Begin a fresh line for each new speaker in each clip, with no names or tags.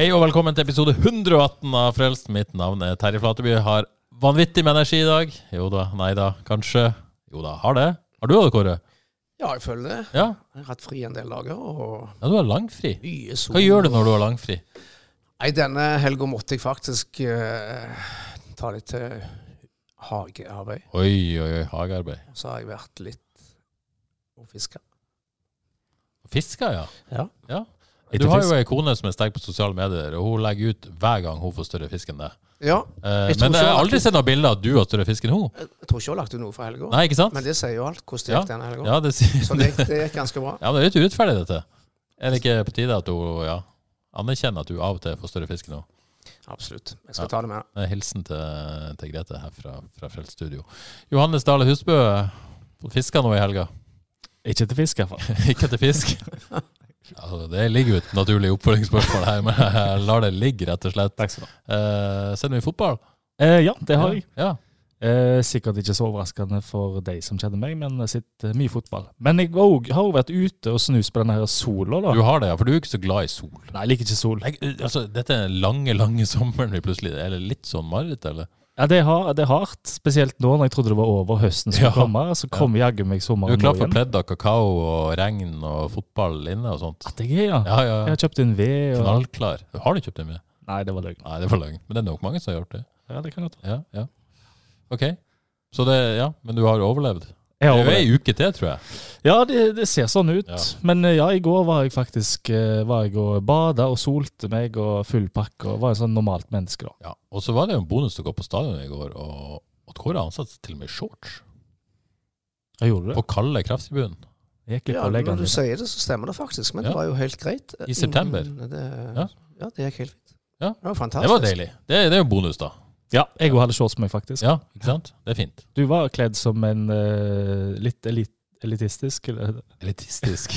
Hei og velkommen til episode 118 av Frelst. Mitt navn er Terje Flateby. Jeg Har vanvittig med energi i dag. Jo da, nei da, kanskje. Jo da, har det. Har du det, Kåre?
Ja, jeg føler det.
Ja.
Jeg har hatt fri en del dager, og
ja, du har langfri.
mye sol.
Hva gjør du når du har langfri?
Nei, denne helga måtte jeg faktisk eh, ta litt eh, hagearbeid.
Oi, oi, oi, hagearbeid.
Og så har jeg vært litt og fiska.
Fisker, ja.
Ja.
ja.
Lite
Du har jo
fisk.
ei kone som er sterk på sosiale medier, og hun legger ut hver gang hun får større fisk enn det.
ja.
Eh,
Jeg tror
men
ikke
jeg har
hun-
aldri sett noe bilde av at du har større fisk enn hun.
Jeg tror ikke hun har lagt ut noe for helga,
Nei, ikke sant?
men det sier jo alt hvordan det
Ja.
gikk denne helga.
Ja, det sier
Så det, gikk- det gikk ganske bra.
Ja, men det er litt urettferdig, dette. Er det ikke på tide at hun ja, anerkjenner at hun av og til får større fisk enn hun?
Absolutt. Jeg
Ja.
skal ta det med.
Det er Hilsen til, til Grete her fra, fra Frelst Studio. Johannes Dale Husbø fiska nå i helga.
Ikke til fisk, iallfall.
Ikke etter fisk. Altså, det ligger jo et naturlig oppfølgingsspørsmål her, men jeg lar det ligge, rett og slett.
Takk skal du ha.
Eh, sender vi fotball?
Eh, ja, det har jeg.
Ja.
Eh, sikkert ikke så overraskende for de som kjenner meg, men jeg sitter mye i fotball. Men jeg og, har jo vært ute og snust på denne her sola,
ja.
da.
Du har det, ja, for du er jo ikke så glad i sol.
Nei, jeg liker ikke sol.
Nei, altså, dette er den lange, lange sommeren vi plutselig Er det litt sånn mareritt, eller?
Ja, det, er har, det er hardt, spesielt nå når jeg trodde det var over høsten som
Ja.
komme. Så kom jaggu meg
Du
sommeren
er klar for
nå igjen.
pledder, kakao og regn og fotball inne og sånt?
At jeg er, ja.
Ja, ja.
Jeg
ja.
har kjøpt en ved og
Knallklar. Har du kjøpt den med?
Nei, det var løgn.
Nei, det var løgn. Men det er nok mange som har gjort det.
Ja, det kan godt være.
Ja, ja. Ok. Så det, ja, men du har overlevd? Det
Jeg har
er jo
overlevd.
ei uke til, tror jeg.
Ja, det, det ser sånn ut.
Ja.
Men eh, ja, i går var jeg faktisk eh, var jeg og bada og solte meg og full pakke og var et sånn normalt menneske, da.
Ja. Og så var det jo en bonus å gå på stadion i går, og at Kåre ansatte til og med i shorts.
Jeg gjorde det.
På kalde krafttribunen.
Jeg gikk litt
Ja,
på
når
leggene
du
mine.
sier det, så stemmer det faktisk. Men
Ja.
det var jo helt greit.
I september.
Ingen- Det,
Ja.
ja. det gikk helt fint.
Ja.
Det var fantastisk.
Det var deilig. Det, det er jo en bonus, da.
Ja, jeg òg hadde shorts på meg, faktisk.
Ja, ikke sant? Det er fint.
Du var kledd som en eh, litt elit elitistisk eller?
Elitistisk.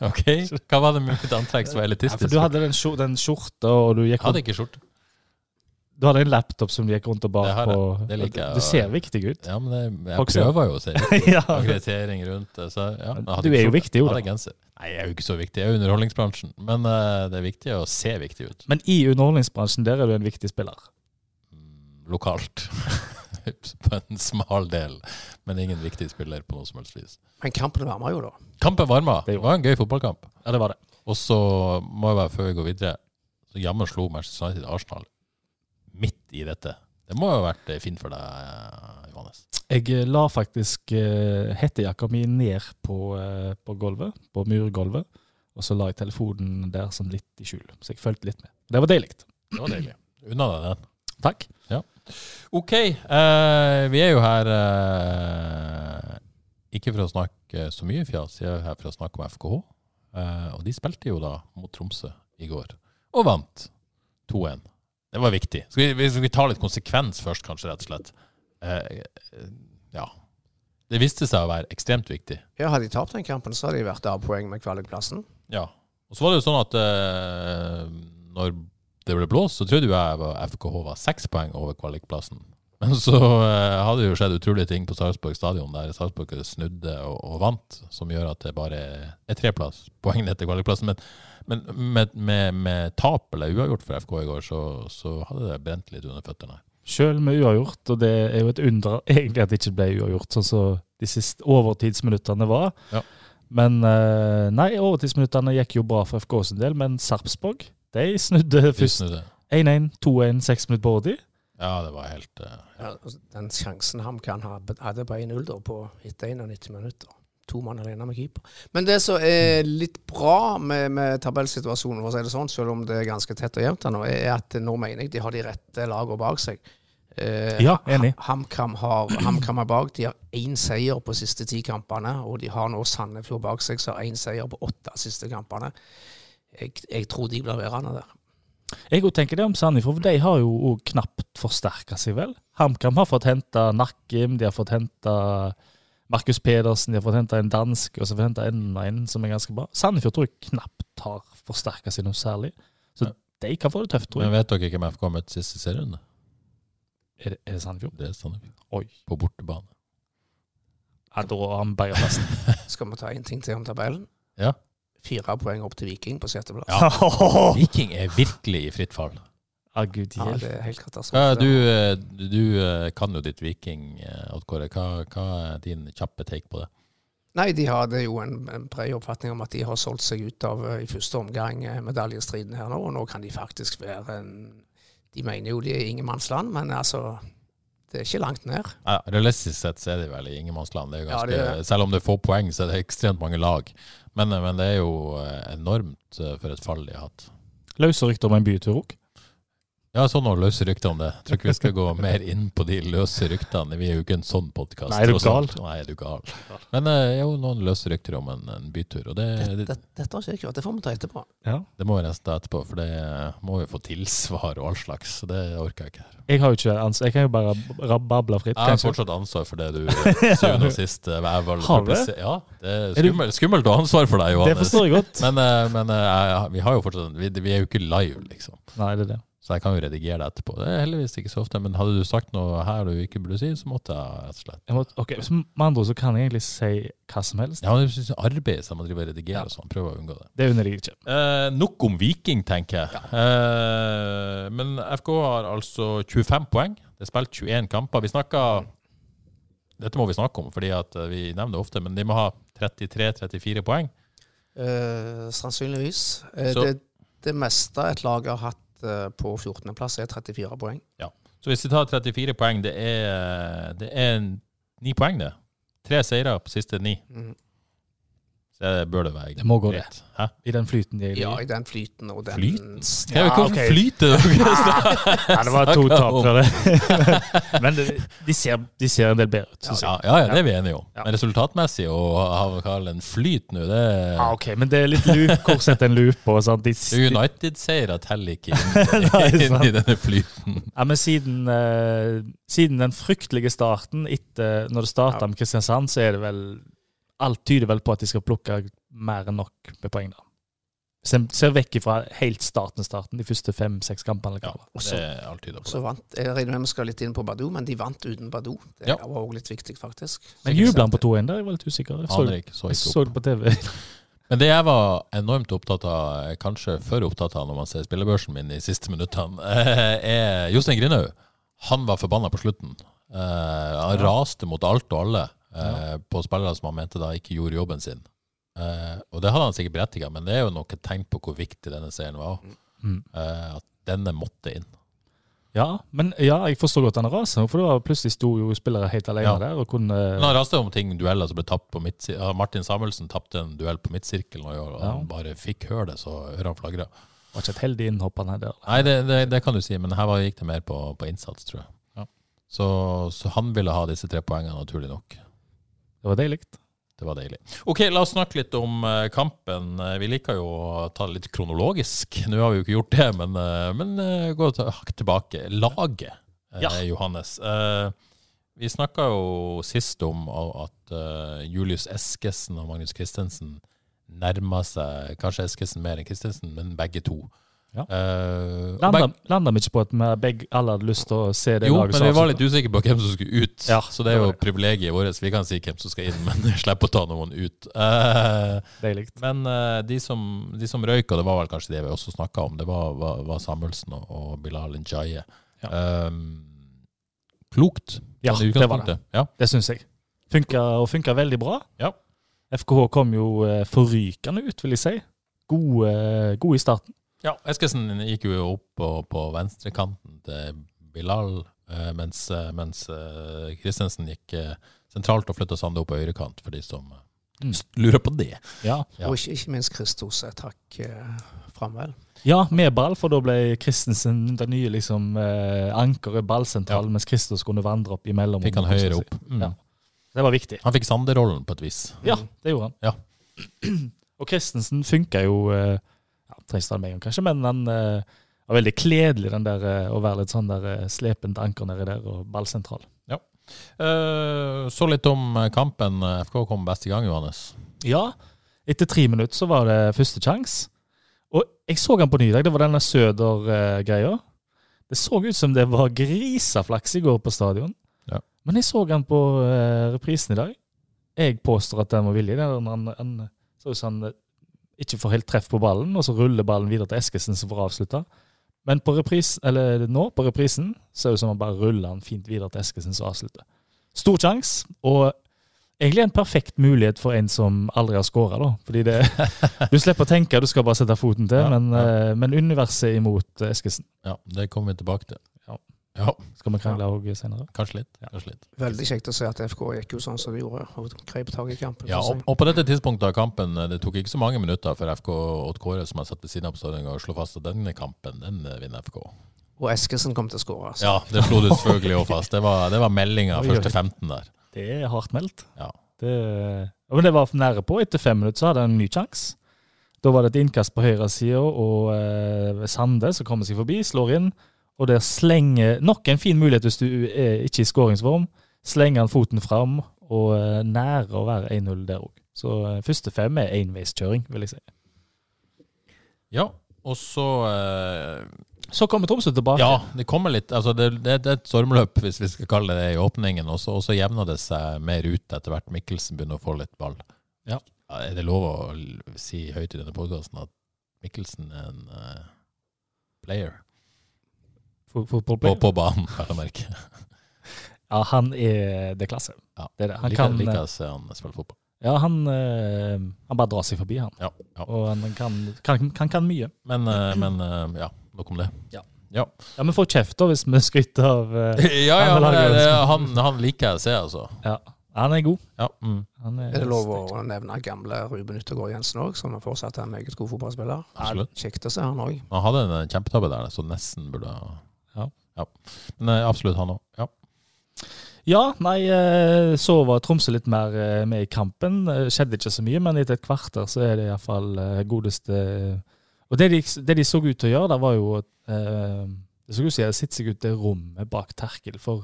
ok. Hva var det med mitt antrekk som var
Ja,
elitistisk?
for du hadde den, skjor- den skjorta, og du
Jeg
gikk
hadde
rundt,
ikke skjorte.
du hadde en laptop som du gikk rundt og bar
Det har jeg.
på.
Det liker jeg.
Du ser viktig ut.
Ja, men det, jeg
Folk ser-
prøver jo å se litt
ja.
akkreditering rundt det. Så, ja, jeg hadde
Du
ikke
er jo
skjorte.
viktig, jo
Jeg
da.
Hadde genser. Nei, jeg er jo ikke så viktig. Jeg er i underholdningsbransjen. Men eh, det er viktig å se viktig ut.
Men i underholdningsbransjen, der er du en viktig spiller.
lokalt. på en smal del, men ingen viktig spiller på noe som helst vis.
Men kampen varma jo, da.
Kampen varma.
Det
Det
gjorde
var en gøy fotballkamp.
Ja, det var det.
Og så må jeg bare, før vi går videre, så jammen slo Manchester United Arsenal midt i dette. Det må jo ha vært eh, fint for deg, Johannes.
Jeg eh, la faktisk eh, hettejakka mi ned på, eh, på gulvet, på murgulvet. Og så la jeg telefonen der sånn litt i skjul, så jeg fulgte litt med. Det var deilig.
Det var deilig. Unna deg den.
Takk.
OK, eh, vi er jo her eh, ikke for å snakke så mye fjas, vi er altså her for å snakke om FKH. Eh, og de spilte jo da mot Tromsø i går, og vant 2-1. Det var viktig. Skal vi, vi- skal vi ta litt konsekvens først, kanskje, rett og slett? Eh, eh, ja. Det viste seg å være ekstremt viktig.
Ja, Hadde de tapt den kampen, så hadde de vært A-poeng med kvalikplassen.
Ja. Og så var det jo sånn at eh, når det ble blåst, så trodde jo jeg var- FKH var seks poeng over kvalikplassen. Men så eh, hadde det jo skjedd utrolige ting på Sarpsborg stadion, der Sarpsborg snudde og, og vant, som gjør at det bare er tre plass, poeng ned til kvalikplassen. Men, men med, med, med tap eller uavgjort for FK i går, så, så hadde det brent litt under føttene.
Sjøl med uavgjort, og det er jo et under egentlig at det ikke ble uavgjort, sånn som de siste overtidsminuttene var.
Ja.
Men eh, nei, overtidsminuttene gikk jo bra for FK sin del, men Sarpsborg de snudde
De
først.
snudde.
1-1, 2-1, 6 minutter på overtid.
Ja, det var helt eh,
Ja, altså, den sjansen HamKam ha- hadde på 1-0 da, på etter 91 minutter. To mann alene med keeper. Men det som er litt bra med, med tabellsituasjonen, for å si det sånn, selv om det er ganske tett og jevnt her nå, er at nå mener jeg de har de rette lagene bak seg. Eh,
Ja, enig.
Ha- HamKam har HamKam er bak. De har én seier på siste ti kampene, og de har nå Sandefjord bak seg, som har én seier på åtte av siste kampene. Jeg, jeg tror de blir værende der.
Jeg òg tenker det om Sandefjord, for de har jo òg knapt forsterka seg, vel? HamKam har fått henta Nakkim, de har fått henta Markus Pedersen, de har fått henta en dansk, og så har de henta enda en som er ganske bra. Sandefjord tror jeg knapt har forsterka seg noe særlig. Så de kan få det tøft, tror
Men
jeg.
vet dere hvem FK har møtt siste serierunde?
Er det, er det Sandefjord?
Det er Sandefjord.
Oi.
På bortebane.
Ja, da har han Bergerplassen.
Skal vi ta én ting til om tabellen?
Ja.
Fire poeng opp til Viking på sjetteplass.
Ja. Viking er virkelig i fritt fall.
Ja, gud
Ja, det
hjelp.
er helt katastrofe.
Ja, du, eh, du eh, kan jo ditt Viking, eh, Odd Kåre. Hva, hva er din kjappe take på det?
Nei, de hadde jo en, en bred oppfatning om at de har solgt seg ut av eh, i første omgang eh, medaljestriden her nå, og nå kan de faktisk være en De mener jo de er ingenmannsland, men altså Det er ikke langt ned.
Ja, realistisk sett så er det vel i ingenmannsland. Det er jo
Ja,
ganske,
det er det.
Selv om det er få poeng, så er det ekstremt mange lag. Men, eh, men det er jo eh, enormt eh, for et fall de har hatt.
Løse rykter om en bytur òg.
Ja, så noen løse rykter om det. Jeg tror ikke vi skal gå mer inn på de løse ryktene. Vi er jo ikke en sånn podkast.
Nei, er du
Nei, er du gal. Men det er jo noen løse rykter om en, en bytur, og det, det,
Dette, dette har ikke jeg hørt, det får vi ta etterpå.
det må vi nesten ta etterpå, for det eh, må vi få tilsvar og all slags. så Det orker jeg ikke her.
Jeg har jo ikke ansvar. Jeg kan jo bare rab- bable fritt.
Jeg har
kanskje.
fortsatt ansvar for det du til syvende og sist eh, er vel
Har du det?
publiser- Ja, det er
Er du-
skummelt, skummelt å ha ansvar for deg,
Det
Johannes.
forstår jeg godt.
Men, eh, men eh, jeg- vi har jo fortsatt vi, vi er jo ikke live, liksom.
Nei, det er det.
Så jeg kan jo redigere det etterpå. Det er heldigvis ikke så ofte. Men hadde du sagt noe her du ikke burde si, så måtte jeg rett og slett
Jeg må, ok, så Med andre ord så kan jeg egentlig si hva som helst.
Ja, men jeg synes arbeid som å drive og redigere og sånn, prøver å unngå det.
Det unner jeg ikke.
Eh, nok om Viking, tenker jeg. Eh, men FK har altså 25 poeng. Det er spilt 21 kamper. Vi snakker Dette må vi snakke om, fordi at eh, vi nevner det ofte, men de må ha 33-34 poeng.
Eh, sannsynligvis. Eh,
Så-
det, det meste et lag har hatt eh, på 14.-plass, er 34 poeng.
Så hvis vi tar 34 poeng, det er, det er en- ni poeng, det. Tre seire på siste ni.
Mm.
Mhm.
Så det bør det være
Det må gå, det.
greit. Hæ?
I den flyten de er i.
Ja, i den flyten og den
Flyten?
Ja,
Ja, Hvorfor
ok.
flyter dere?
Ja, det var to tap fra det. Men det, de, ser, de ser en del bedre ut. synes jeg.
Ja, ja, ja, det er vi enige om.
Ja.
Men resultatmessig å ha hva kaller en flyt nå, det
Ja, Ah, ok, Men det er litt loop. Hvor setter en loop på? Sant? De,
det er United-seiere teller ikke
Nei,
inn i- inn i
sant.
denne flyten.
ja, men siden, eh, siden den fryktelige starten etter når det starta med Kristiansand, så er det vel Alt tyder vel på at de skal plukke mer enn nok med poeng, da. Hvis en ser vekk ifra helt starten, starten, de første fem-seks kampene. eller
Ja,
hva det var.
det er alt tyder
Så
på det.
vant, Jeg regner med vi skal litt inn på Badou, men de vant uten Badou. Det
Ja.
var òg litt viktig, faktisk.
Men jubla han på 2-1 der? Jeg var litt usikker. Jeg så,
Aner ikke, så
jeg
ikke
så
opp.
det på TV.
Men det jeg var enormt opptatt av, eh, kanskje for opptatt av når man ser spillebørsen min de siste minuttene, eh, er Jostein Grinhaug. Han var forbanna på slutten. Eh, Han raste mot alt og alle eh, på spillere som han mente da ikke gjorde jobben sin. Eh, Og det hadde han sikkert berettiget, men det er jo nok et tegn på hvor viktig denne serien var.
Mm.
Eh, At denne måtte inn.
Ja, men ja, jeg forstår godt han raser, for det var plutselig sto jo spillere helt alene
Ja.
der og kunne eh,
Men han raste om ting, dueller som ble tapt på midtsir- ja, Martin Samuelsen tapte en duell på midtsirkelen, og i år, og
Ja.
han bare fikk høre det, så ørene flagra.
Var ikke et heldig innhopp han hadde. der.
Nei, det, det, det kan du si, men her var, gikk det mer på, på innsats, tror jeg. Så, så han ville ha disse tre poengene, naturlig nok.
Det var deilig.
Det var deilig. Ok, la oss snakke litt om eh, kampen. Eh, Vi liker jo å ta det litt kronologisk. Nå har vi jo ikke gjort det, men, eh, men eh, gå ta- hakk tilbake. Laget, eh,
Ja.
Johannes. Eh, Vi snakka jo sist om a- at eh, Julius Eskesen og Magnus Christensen nærma seg kanskje Eskesen mer enn Christensen, men begge to.
Ja.
Eh, og
Landa
beg-
landa vi ikke på at vi begge alle hadde lyst til å se det
jo,
laget
men vi var litt usikre på hvem som skulle ut.
Ja,
så det er
det
jo
var det.
privilegiet vårt. Vi kan si hvem som skal inn, men slipp å ta noen ut. Eh,
Deilig.
men eh, de, som, de som røyk, og det var vel kanskje det vi også snakka om, det var, var, var Samuelsen og, og Bilal Njaye. Um, klokt.
Ja,
sånn i
det var det.
utgangspunktet. Ja.
Det syns jeg. Funka og funka veldig bra.
Ja.
FKH kom jo eh, forrykende ut, vil jeg si. God, eh, god i starten.
Ja, Eskesen gikk jo opp på, på venstrekanten til Bilal, eh, mens, eh, mens eh, Christensen gikk eh, sentralt og flytta Sande opp på høyrekant, for de som eh,
Mm.
lurer på det. Ja.
Og ikke, ikke minst Kristos et hakk eh, fram, vel?
Ja, med ball, for da ble Christensen den nye liksom, eh, ankeret ballsentral, mens Christos kunne vandre opp imellom.
Fikk han høyere opp. Mm.
Ja. Det var viktig.
Han fikk Sander-rollen på et vis.
Ja, det gjorde han.
Ja.
Og Christensen funka jo eh, ja, Trengs det med en gang, kanskje, men han eh, var veldig kledelig, den der eh, å være litt sånn der eh, slepent anker nedi der, og ballsentral.
Eh, så litt om eh, kampen. FK kom best i gang, Johannes.
Ja, etter tre minutter så var det første sjanse. Og jeg så han på ny i dag. Det var denne eh, Søder-greia. Det så ut som det var griseflaks i går på stadion.
Ja.
Men jeg så han på eh, reprisen i dag. Jeg påstår at den var villig. Den, han, han så ut som han eh, ikke får helt treff på ballen, og så ruller ballen videre til Eskesen, som får avslutta. Men på repris, eller nå, på reprisen, så er det som han bare ruller han fint videre til Eskesen, som avslutter. Stor sjanse, og egentlig en perfekt mulighet for en som aldri har skåra, da. Fordi det, du slipper å tenke, du skal bare sette foten til.
Ja,
men,
ja.
eh, men universet er imot eh, Eskesen.
Ja, det kommer vi tilbake til.
Ja.
Ja,
Skal vi krangle òg senere?
kanskje litt. Kanskje litt.
Veldig kjekt å se at FK gikk jo sånn som de gjorde, og grep tak i kampen.
Ja, og, og på dette tidspunktet av kampen, eh, det tok ikke så mange minutter før FK og Kåre, som jeg satt ved siden av på stadion, og slo fast at denne kampen, den eh, vinner FK.
og Eskesen kom til å skåre. altså.
Ja, det slo du selvfølgelig òg fast. Det var, det var meldinga
Oi, oi.
første 15 der.
Det er hardt meldt.
Ja.
Det, ja, men det var nære på. Etter fem minutter så hadde han en ny sjanse. Da var det et innkast på høyresida, og eh, Sande som kommer seg forbi, slår inn. Og der slenger Nok en fin mulighet hvis du er ikke i skåringsform. Slenger han foten fram, og eh, nære å være 1-0 der òg. Så eh, første fem er enveiskjøring, vil jeg si.
Ja, og så eh,
Så kommer Tromsø tilbake.
Ja, det kommer litt. Altså det, det, det er et stormløp, hvis vi skal kalle det det, i åpningen. Og så, og så jevner det seg mer ut etter hvert. Mikkelsen begynner å få litt ball.
Ja.
Er det lov å l- si høyt i denne podkasten at Mikkelsen er en eh, player
Fo-
på,
fotballplayer.
på banen, vel å merke?
Ja, han er det er klasse.
Ja.
Det er det. Han
Liker-
kan, eh,
liker å se han spille fotball.
Ja, han, eh, han bare drar seg forbi, han.
Ja, ja.
Og han kan, kan, kan, kan mye.
Men, eh, men eh, ja, nok om det.
Ja, men får kjeft da hvis vi skryter av eh,
Ja, ja,
Han
men,
lager
det,
det.
han, han liker jeg å se, altså.
Ja, han er god.
Ja, mm.
Han er,
Er det lov å nevne gamle Ruben Yttergård Jensen òg, som er fortsatt er en meget god fotballspiller?
absolutt.
Kjekt å se han òg.
Han hadde en eh, kjempetabbe der, så nesten burde
Ja.
ja. Men eh, absolutt han òg. Ja.
Ja, nei, eh, så var Tromsø litt mer eh, med i kampen. Eh, Skjedde ikke så mye, men etter et kvarter så er det iallfall eh, godeste Og det de, det de så ut til å gjøre, der var jo at eh, Det så ut som de hadde sett seg ut det rommet bak terkel. For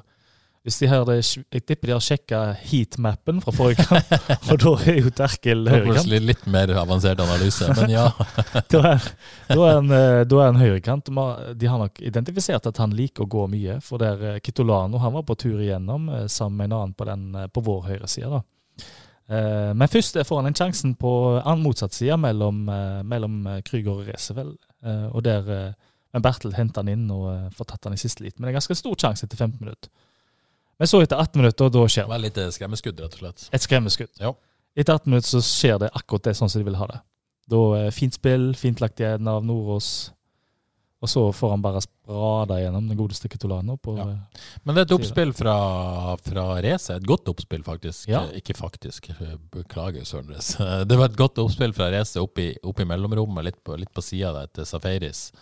hvis de hadde, jeg tipper de har sjekka heatmappen fra forrige kamp, og da er jo terkel
Det var
høyrekant.
plutselig litt mer avansert analyse, men ja.
Da er, da er han, eh, da er han høyrekant. De har- De har nok identifisert at han liker å gå mye. For der eh, Kitolano han var på tur igjennom eh, sammen med en annen på, den, eh, på vår høyreside. da. Eh, Men først eh, får han en sjansen på annen motsatt side mellom, eh, mellom eh, Krüger og Resevel. Eh, Og der eh, men Bertel henter han inn og eh, får tatt han i siste liten. Men det er en ganske stor sjanse etter 15 minutter. Men så etter 18 minutter, og da skjer det.
Det var litt skremmeskudd, rett og slett.
Et skremmeskudd.
Ja.
Etter 18 minutter så skjer det akkurat det sånn som de vil ha det. Da eh, Fint spill, fint lagt igjen av Nordås. Og så får han bare sprada gjennom den godeste Ketolano. På, eh,
Ja. Men det er et oppspill fra, fra Reze. Et godt oppspill, faktisk.
Ja.
Eh, Ikke faktisk, Eh, beklager, Søren Reze. Det var et godt oppspill fra Reze opp i, opp i mellomrommet, litt på, litt på sida der, til Safaris.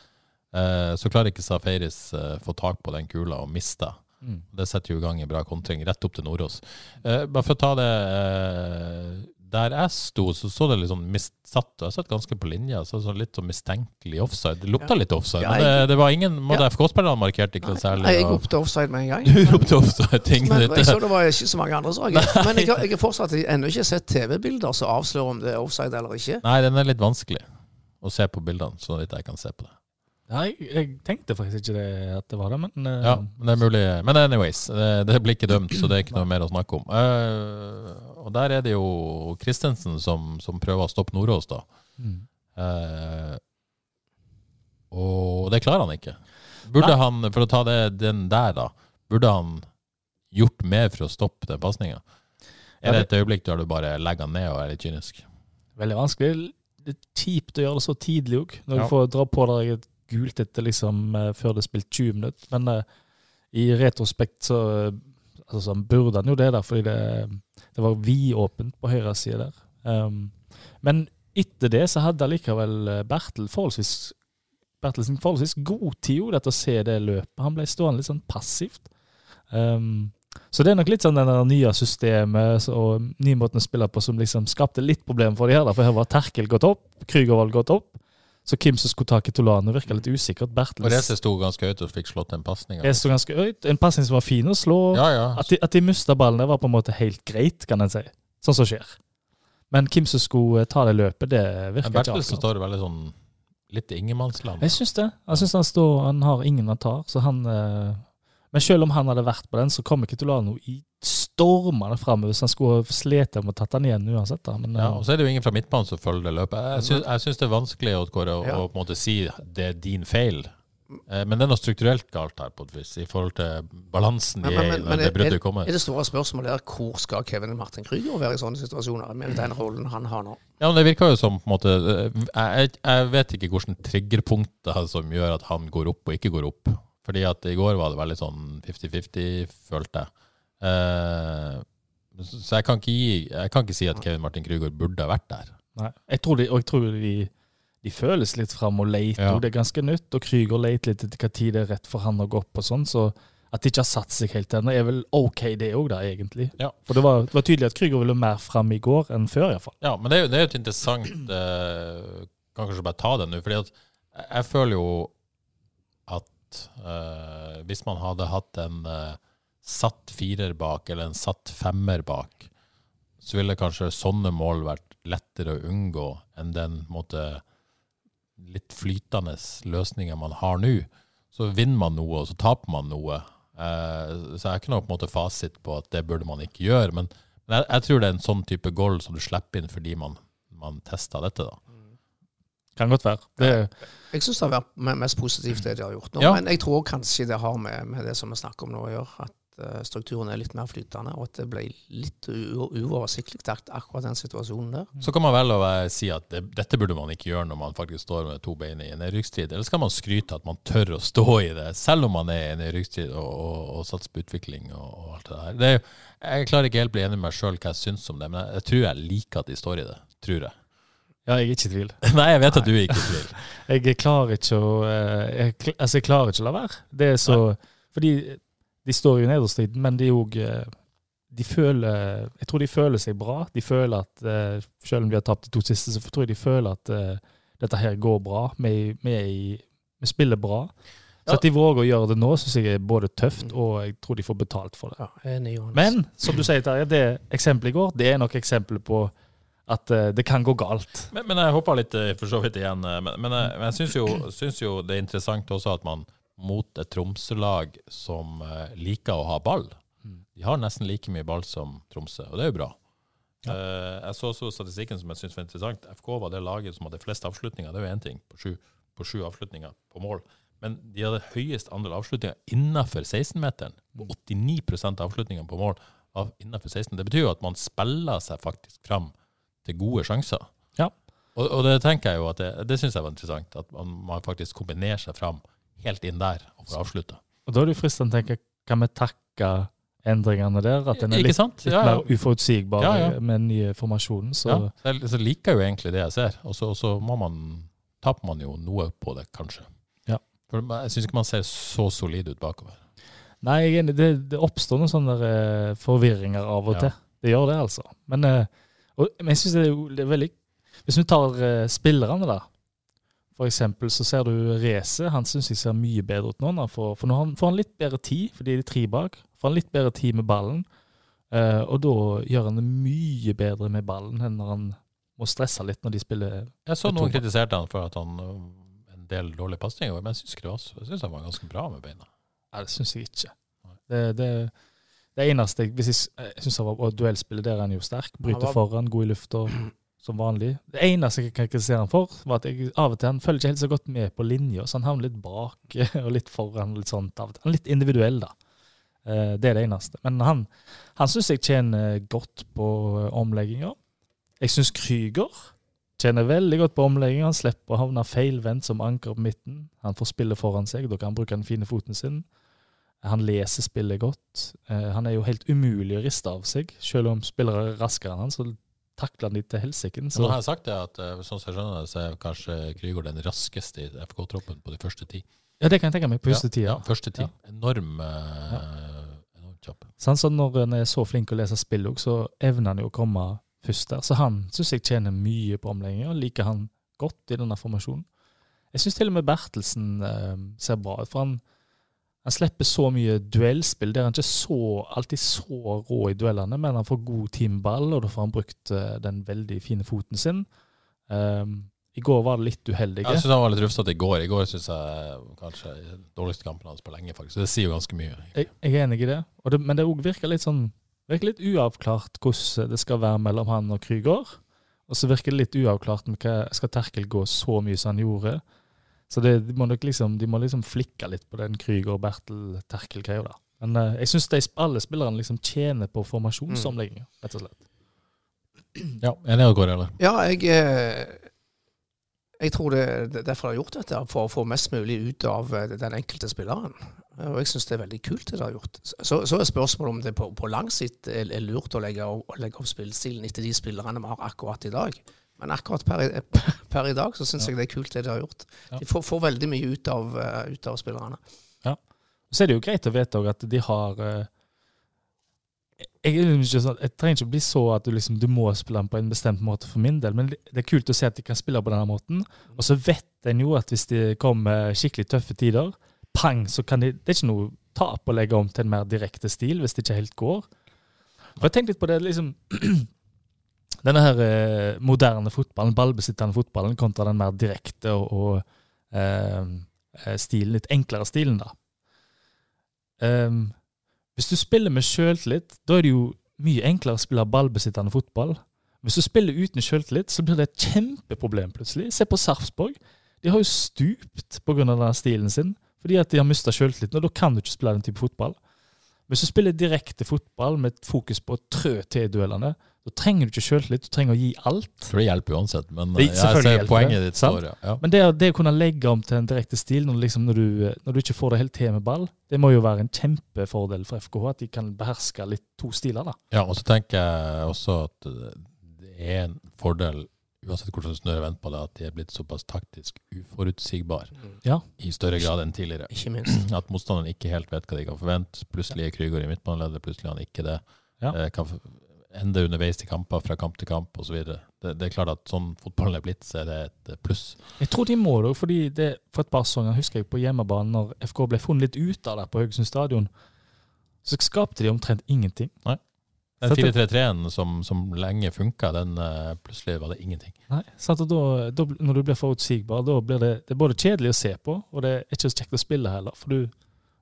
Eh, Så klarer ikke Safaris eh, få tak på den kula og miste.
Mm.
Det setter jo i gang en bra kontring, rett opp til Nordås. Eh, bare for å ta det eh, Der jeg sto, så så det litt sånn missatt. og Jeg satt ganske på linja. Så så litt sånn mistenkelig offside. Det lukta litt offside,
Ja,
men det, det var ingen Måtte
Ja.
FK-spillerne markerte ikke noe særlig. og-
Jeg gikk opp til offside med en gang.
du ropte ofte ting
Men jeg så
ditt.
det var ikke så mange andre som reagerte. Men jeg har, jeg har fortsatt ennå ikke sett TV-bilder som avslører om det er offside eller ikke.
Nei, den er litt vanskelig å se på bildene, sånn at jeg kan se på det.
Nei, jeg tenkte faktisk ikke det at det var det, men eh,
Ja, men det er mulig. Men anyways, det, det blir ikke dømt, så det er ikke noe mer å snakke om. Eh, og der er det jo Christensen som, som prøver å stoppe Nordås, da.
Mm.
Eh, og det klarer han ikke. Burde
Nei.
han, for å ta det, den der, da, burde han gjort mer for å stoppe den pasninga?
Ja,
Er det et øyeblikk der du bare legger han ned og er litt kynisk?
Veldig vanskelig. Det er kjipt å gjøre det så tidlig òg, når
Ja.
du får dra på deg et gult etter liksom eh, før det er spilt 20 minutter. Men eh, i retrospekt så eh, altså, sånn burde han jo det, der, fordi det, det var vidåpent på høyre side der. Um, Ehm, men Etter det så hadde allikevel eh, Bertel forholdsvis, Bertelsen forholdsvis god tid jo, til å se det løpet. Han ble stående litt sånn passivt. Ehm, så det er nok litt sånn det der nye systemet så- og nye måten å spille på som liksom skapte litt problemer for de her. da, For her var Terkel gått opp, Krügervold gått opp. Så hvem som skulle ta Kitolano, virka litt usikkert. Bertels
Og Reze sto ganske høyt og fikk slått en pasning.
det sto ganske høyt. En pasning som var fin å slå.
Ja, ja.
At de, at de mista ballen, det var på en måte helt greit, kan en si. Sånn som skjer. Men hvem som skulle eh, ta det løpet, det virker
Men
ikke
Bertelsen står
avklart.
veldig sånn litt i ingenmannsland.
Jeg syns det. Jeg synes Han står, han har ingen han tar, så han eh, Men selv om han hadde vært på den, så kommer Kitolano i stormende framover. Så han skulle slite med å tatt den igjen uansett. Da. Men,
Ja,
eh,
og så er det jo ingen fra midtbanen som følger det løpet. Jeg syns, jeg syns det er vanskelig Odd Kåre, å,
Ja.
å på en måte si det er din feil. Eh, Men det er noe strukturelt galt her, på et vis, i forhold til balansen de
Men-
er i
men- men-
når det
men
bruddet kommer.
Er det store spørsmålet der hvor skal Kevin Martin Krüger være i sånne situasjoner med den rollen han har nå?
Ja, men Det virker jo som på en måte eh, Jeg, jeg vet ikke hvilke triggerpunkter som gjør at han går opp og ikke går opp. Fordi at i går var det veldig sånn 50-50, følte jeg. Eh, så så jeg kan, ikke gi, jeg kan ikke si at Kevin Martin Krüger burde ha vært der.
Nei. Jeg tror de, og jeg tror de, de føles litt fram og leter.
Ja.
og Det er ganske nytt, og Krüger leter litt etter hva tid det er rett for han å gå opp. og sånn, så At de ikke har satt seg helt ennå, er vel OK, det òg, da, egentlig.
Ja.
For det var, det var tydelig at Krüger ville mer fram i går enn før, iallfall.
Ja, men det er jo, det er jo et interessant eh, Kan kanskje bare ta det nå. fordi at jeg- jeg føler jo at eh, hvis man hadde hatt en eh, satt firer bak, eller en satt femmer bak, så ville kanskje sånne mål vært lettere å unngå enn den på en måte, litt flytende løsninga man har nå. Så vinner man noe, og så taper man noe. Eh, så jeg har ikke noe på en måte fasit på at det burde man ikke gjøre. Men, men jeg, jeg tror det er en sånn type goal som du slipper inn fordi man, man testa dette, da.
Kan godt være. Det,
Jeg syns det har vært me- mest positivt det de har gjort nå.
Ja.
Men jeg tror kanskje det har med, med det som vi snakker om nå å gjøre, at eh, strukturen er litt mer flytende, og at det ble litt u- uoversiktlig ak- akkurat den situasjonen der.
Så kan man vel å være- si at det, dette burde man ikke gjøre når man faktisk står med to bein i en nedrykksstrid. Eller skal man skryte at man tør å stå i det, selv om man er i en nedrykksstrid og, og, og satser på utvikling og, og alt det der. Det er, jo- jeg klarer ikke helt bli enig med meg sjøl hva jeg syns om det, men jeg, jeg tror jeg liker at de står i det. Tror jeg.
ja, jeg er ikke i tvil.
Nei, jeg vet at du er ikke i tvil.
Jeg klarer ikke å eh, jeg, kl- altså jeg klarer ikke å la være. Det er så, fordi de står jo i nederstriden, men de òg de føler, Jeg tror de føler seg bra. De føler at eh, Selv om de har tapt de to siste, så tror jeg de føler at eh, dette her går bra. Vi, vi, er i- vi spiller bra.
Ja.
Så at de våger å gjøre det nå, syns jeg er både tøft, og jeg tror de får betalt for det.
Ja, jeg er enig, Johannes.
Men som du sier, Terje, det eksempelet i går, det er nok eksempelet på at eh, det kan gå galt.
Men, men jeg hoppa litt eh, for så vidt igjen. eh, Men, men jeg, men jeg syns jo, syns jo det er interessant også at man mot et Tromsø-lag som eh, liker å ha ball De har nesten like mye ball som Tromsø, og det er jo bra. Eh, jeg så også statistikken som jeg syns var interessant. FK var det laget som hadde flest avslutninger. Det er jo én ting, på sju, på sju avslutninger på mål. Men de hadde høyest andel avslutninger innafor 16-meteren. Og 89 av avslutningene på mål var innafor 16. Det betyr jo at man spiller seg faktisk fram til gode sjanser.
Ja.
Og, og det tenker jeg jo at det, det syns jeg var interessant. At man, man faktisk kombinerer seg fram helt inn der og får avslutta.
Og da er det jo fristende å tenke, kan vi takke endringene der? At den er
Ikke
litt,
sant?
litt
Ja, ja.
mer uforutsigbar
Ja, ja.
med den nye formasjonen. Så
Ja, så jeg så liker jeg jo egentlig det jeg ser, og så, og så må man, taper man jo noe på det, kanskje.
Ja.
For jeg syns ikke man ser så solid ut bakover.
nei, jeg er enig, det, det oppstår noen sånne eh, forvirringer av og
Ja.
til. Det gjør det, altså. Men, eh, og, men jeg syns det, er jo- det er veldig Hvis vi tar eh, spillerne, da. For eksempel så ser du Reze. Han syns jeg ser mye bedre ut nå. når han får- For nå har han- får han litt bedre tid, fordi de er tre bak. Får han litt bedre tid med ballen. Eh, og da gjør han det mye bedre med ballen enn når han må stresse litt når de spiller
Jeg så
Jeg tror
noen
det.
kritiserte han for at han ø, en del dårlige pasninger, men jeg syns ikke det var så- Jeg syns han var ganske bra med beina.
Nei, det syns jeg ikke. Det, det, det eneste jeg, hvis jeg, s- eh, jeg syns han var og duellspillet der er han jo sterk. Bryter
var-
foran, god i lufta som vanlig. Det eneste jeg kan kritisere han for, var at jeg av og til han følger ikke helt så godt med på linja, så han havner litt bak og litt foran. litt sånt av og til. Han er litt individuell, da. Eh, Det er det eneste. Men han, han syns jeg tjener godt på eh, omlegginga. Jeg syns Krüger tjener veldig godt på omlegginga. Han slipper å havne feilvendt som anker på midten. Han får spillet foran seg, da kan han bruke den fine foten sin. Han leser spillet godt. Eh, Han er jo helt umulig å riste av seg. Selv om spillere er raskere enn han, så takla de til helsiken.
Så
Så
har jeg sagt det at eh, sånn som jeg skjønner det, så er kanskje Krygård den raskeste i FK-troppen på de første ti.
ja, det kan jeg tenke meg på
Ja,
første tida.
Ja, første ti.
Ja.
Enorm, eh, enormt kjapp.
Sånn, så når en er så flink å lese spill òg, så evner han jo å komme først der. Så han syns jeg tjener mye på omleggingen, og liker han godt i denne formasjonen. Jeg syns til og med Bertelsen eh, ser bra ut, for han, han slipper så mye duellspill. Der han ikke så, alltid så rå i duellene, men han får god teamball, og da får han brukt eh, den veldig fine foten sin. Ehm, I går var det litt uheldige.
Jeg syns han var litt rufsete i går. I går syns jeg kanskje den dårligste kampen hans på lenge, faktisk. Det sier jo ganske mye.
Jeg, jeg er enig i det, og det men det òg virker litt sånn virker litt uavklart hvordan det skal være mellom han og Krüger. Og så virker det litt uavklart med hva skal Terkel gå så mye som han gjorde. Så det, de, må nok liksom, de må liksom flikke litt på den Krüger og Bertel-Terkel-greia. da. Men eh, jeg syns alle spillerne liksom tjener på formasjonsomlegginga, rett og slett.
Ja, Enig i går, eller?
Ja, jeg, eh, jeg tror det det er derfor de har gjort dette, for å få mest mulig ut av eh, den enkelte spilleren. Eh, Og jeg syns det er veldig kult det de har gjort. Så, så er spørsmålet om det på, på lang sikt er, er lurt å legge, å legge opp spillestilen etter de spillerne vi har akkurat i dag. Men akkurat per, i- per i dag så syns jeg det er kult det de har gjort.
Ja.
De får, får veldig mye ut av, eh, ut av spillerne.
Så er det jo greit å vite òg at de har eh, jeg, er liksom ikke sånn, jeg trenger ikke bli så at du liksom, du må spille den på en bestemt måte for min del, men det det er kult å se at de kan spille på denne måten. Og så vet en jo at hvis det kommer skikkelig tøffe tider, pang, så kan de Det er ikke noe tap å legge om til en mer direkte stil hvis det ikke helt går. For jeg tenkte litt på det liksom Denne her eh, moderne fotballen, ballbesittende fotballen, kontra den mer direkte og, og eh, eh, stilen, litt enklere stilen, da. Ehm, hvis du spiller med sjøltillit, da er det jo mye enklere å spille ballbesittende fotball. Hvis du spiller uten sjøltillit, så blir det et kjempeproblem plutselig. Se på Sarpsborg. De har jo stupt pga. denne stilen sin, fordi at de har mista sjøltilliten, og da kan du ikke spille den type fotball. Hvis du spiller direkte fotball med et fokus på å trø til i duellene, da trenger du ikke sjøltillit, du trenger å gi alt.
For det hjelper uansett, men
Det-
eh, jeg
selvfølgelig
ser
hjelper
poenget
det,
ditt.
sant?
Står, ja. Ja.
Men det, å- det å kunne legge om til en direkte stil når du, liksom, når, du, når du ikke får det helt til med ball, det må jo være en kjempefordel for FKH at de kan beherske litt to stiler. da.
ja, og så tenker jeg også at eh, det er en fordel, uansett hvordan snør jeg venter på det, at de er blitt såpass taktisk uforutsigbar
Ja.
i større grad enn tidligere.
Ikke minst.
At motstanderen ikke helt vet hva de kan forvente. Plutselig er Krygård i midtbaneleder, plutselig er han ikke det.
Ja.
Eh, Kan f- ende underveis til kamper, fra kamp til kamp osv. Det, det er klart at sånn fotballen er blitt, så er det et eh, pluss.
Jeg tror de må det, også, fordi det, for et par sesonger husker jeg på hjemmebane, når FK ble funnet litt ut av det på Haugesund stadion, så skapte de omtrent ingenting.
Den
Så det-
4-3-3-en som, som lenge funka, den eh, plutselig var det ingenting.
Nei, sant? Og da, da, bl- Når du blir forutsigbar, da blir det, det er både kjedelig å se på, og det er ikke så kjekt å spille heller. For du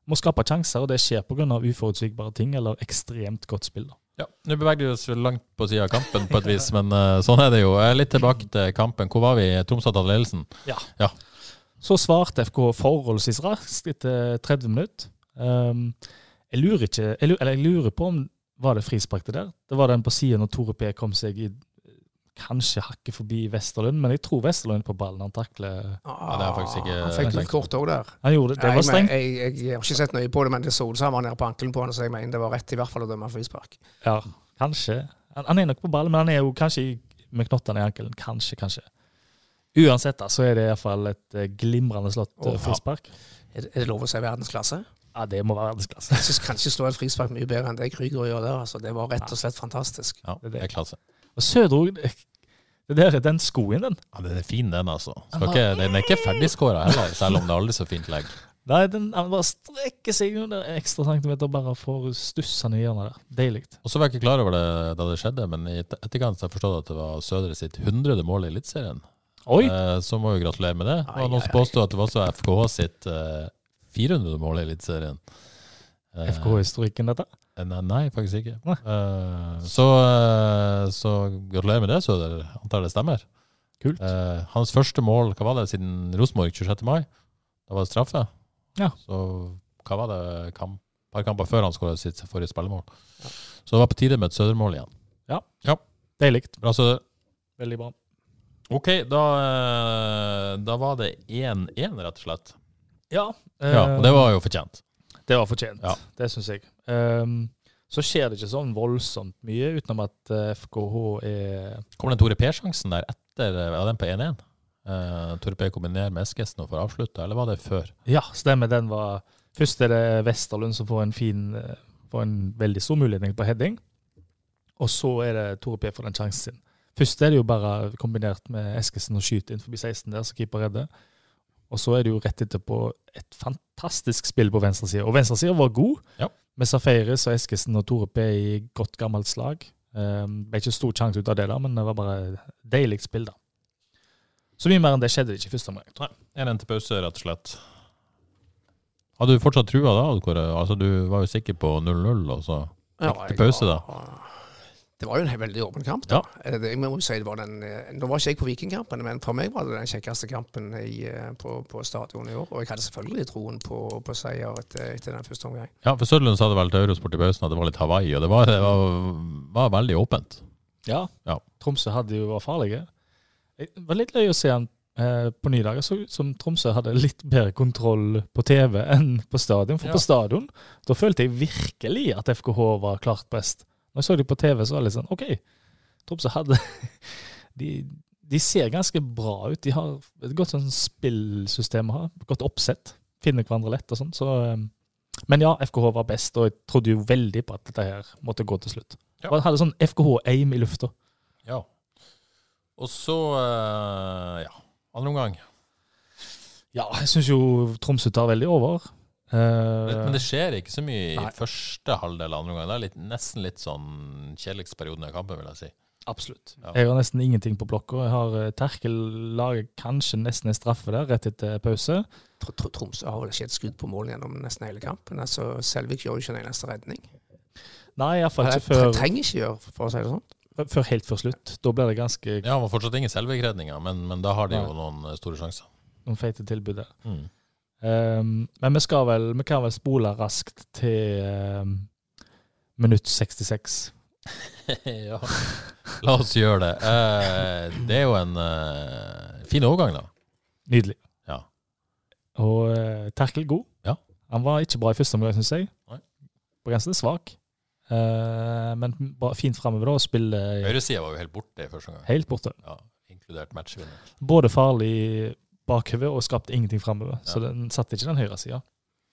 må skape sjanser, og det skjer pga. uforutsigbare ting eller ekstremt godt spill. da.
Ja, Nå beveger vi oss vel langt på sida av kampen, på et vis, men eh, sånn er det jo. Eh, Litt tilbake til kampen. Hvor var vi? Tromsø hadde ledelsen.
Så svarte FK forholdsvis raskt etter 30 minutter. Ehm, jeg lurer ikke, jeg lurer, eller jeg lurer på om var det frispark det der. Det var den på siden når Tore P kom seg i kanskje hakket forbi Vesterlund, men jeg tror Vesterlund er på ballen han takler.
Ja, det er faktisk ikke-
Ah, Han fikk litt kort òg der.
Han gjorde det, det
Nei,
var
men
strengt.
Jeg, jeg, jeg har ikke sett nøye på det, men det så ut som han var nede på ankelen på han, så jeg mener det var rett i hvert fall å dømme frispark.
Ja, kanskje. Han, han er nok på ballen, men han er jo kanskje i- med knottene i ankelen. Kanskje, kanskje. Uansett da, så er det iallfall et eh, glimrende slått
Å,
eh,
ja.
frispark.
Er det, er det lov å si verdensklasse?
Ja, det må være verdensklasse.
Jeg syns kanskje slå et frispark mye bedre enn det Krüger gjør der. altså. Det var rett og slett fantastisk.
Ja, det er klasse.
Og Sødro det det der er den skoen, den.
Ja, Den er fin, den, altså. Skal ikke, den er ikke ferdigskåra heller, selv om det er aldri så fint legg.
Nei, den han bare strekker seg noen der ekstra centimeter bare for stussende i hjørnet der. Deilig.
Og så var jeg ikke klar over det da det skjedde, men i et- etterkant så har jeg forstått at det var Sødre sitt 100. mål i Eliteserien.
Oi!
Eh, Så må vi gratulere med det.
Ai,
Og noen
ai,
som påstod at det var også FKH sitt eh, 400. mål i Eliteserien. Eh,
FK-historikken, dette.
eh, Nei, nei, faktisk ikke.
Nei.
Eh, Så, eh, så gratulerer med det, Søder. Antar det stemmer.
Kult.
Eh, Hans første mål, hva var det, siden Rosenborg 26. mai? Da var det straffe.
Ja.
Så hva var det, kamp, par kamper før han skåret sitt forrige spillemål. Så det var på tide med et Søder-mål igjen. Altså,
Deilig.
Bra, Søder.
Veldig bra.
Ok, da, eh, da var det 1-1, rett og slett.
Ja. eh,
Ja, og det var jo fortjent.
Det var fortjent.
Ja.
Det syns jeg. Ehm, så skjer det ikke sånn voldsomt mye, utenom at eh, FKH er
Kommer den Tore P-sjansen der etter eh, ja, den på 1-1? Eh, Tore P kombinerer med Eskesen og får avslutta, eller var det før?
Ja, stemmer. Den var Først er det Vesterlund som får en fin eh, Får en veldig stor mulighet på heading. Og så er det Tore P får den sjansen sin. Først er det jo bare kombinert med Eskesen og skyte inn forbi 16 der, så keeper redder. Og så er det jo rett etterpå et fantastisk spill på venstresida. Og venstresida var god,
Ja.
med Safaris og Eskesen og Tore P i godt gammelt slag. Um, ble ikke stor sjanse ut av det, da, men det var bare deilig spill, da. Så mye mer enn det skjedde det ikke i første omgang.
Nei, 1-1 til pause, rett og slett. Hadde du fortsatt trua da, Odd Kåre? Altså, du var jo sikker på 0-0, og så
Ja,
Gikk til pause, da?
Det var jo en veldig åpen kamp. da. Eh, Det, jeg må jo si det var den, eh, nå var ikke jeg på Vikingkampen, men for meg var det den kjekkeste kampen i, eh, på, på stadion i år. Og jeg hadde selvfølgelig troen på, på seier etter, etter den første omgang.
Ja, for Søderlund sa det vel til Eurosport i pausen at det var litt Hawaii, og det var, det var, var veldig åpent.
Ja.
Ja.
Tromsø hadde jo vært farlige. Det var litt løy å se han eh, på Nydalen. Det Så ut som Tromsø hadde litt bedre kontroll på TV enn på stadion. For
Ja.
på stadion da følte jeg virkelig at FKH var klart best. Når jeg så de på TV, så var det litt sånn OK, Tromsø hadde de, de ser ganske bra ut. De har et godt sånn spillsystem å ha. Godt oppsett. Finner hverandre lett og sånn. Så, eh, men ja, FKH var best, og jeg trodde jo veldig på at dette her måtte gå til slutt.
Ja.
Og jeg hadde sånn FKH-aim i lufta.
Ja. Og så, eh, ja, andre omgang.
Ja, jeg syns jo Tromsø tar veldig over. Eh,
Men det skjer ikke så mye i
Nei.
første halvdel av andre omgang. Det er litt, nesten litt sånn kjedeligste perioden av kampen, vil jeg si.
absolutt.
Ja.
Jeg har nesten ingenting på blokka. Jeg har eh, Terkel lager kanskje nesten en straffe der rett etter pause.
Tr- Tr- Tromsø har vel ikke et skudd på mål gjennom nesten hele kampen. altså Selvik gjør jo ikke en eneste redning.
Nei, iallfall
Eller
ikke før,
trenger ikke gjøre, for å si det sånn.
før helt før slutt. Da blir det ganske
Ja, det var fortsatt ingen selvvegredninger, men, men da har de
Nei. Mm.
jo noen eh, store sjanser.
noen feite tilbud der. Ehm, men vi, skal vel, vi kan vel spole raskt til ehm, minutt 66.
ja. La oss gjøre det. Eh, det er jo en eh, fin overgang, da.
Nydelig.
Ja.
Og eh, Terkel god.
Ja.
Han var ikke bra i første omgang, syns jeg.
Nei.
På grensen til svak. Eh, men bra, fint framover, da. Og spiller
Høyresida var jo helt borte i første omgang,
helt borte.
ja, inkludert matchvinner.
Både farlig bakover og skapte ingenting framover. Så den satte ikke den høyre sida.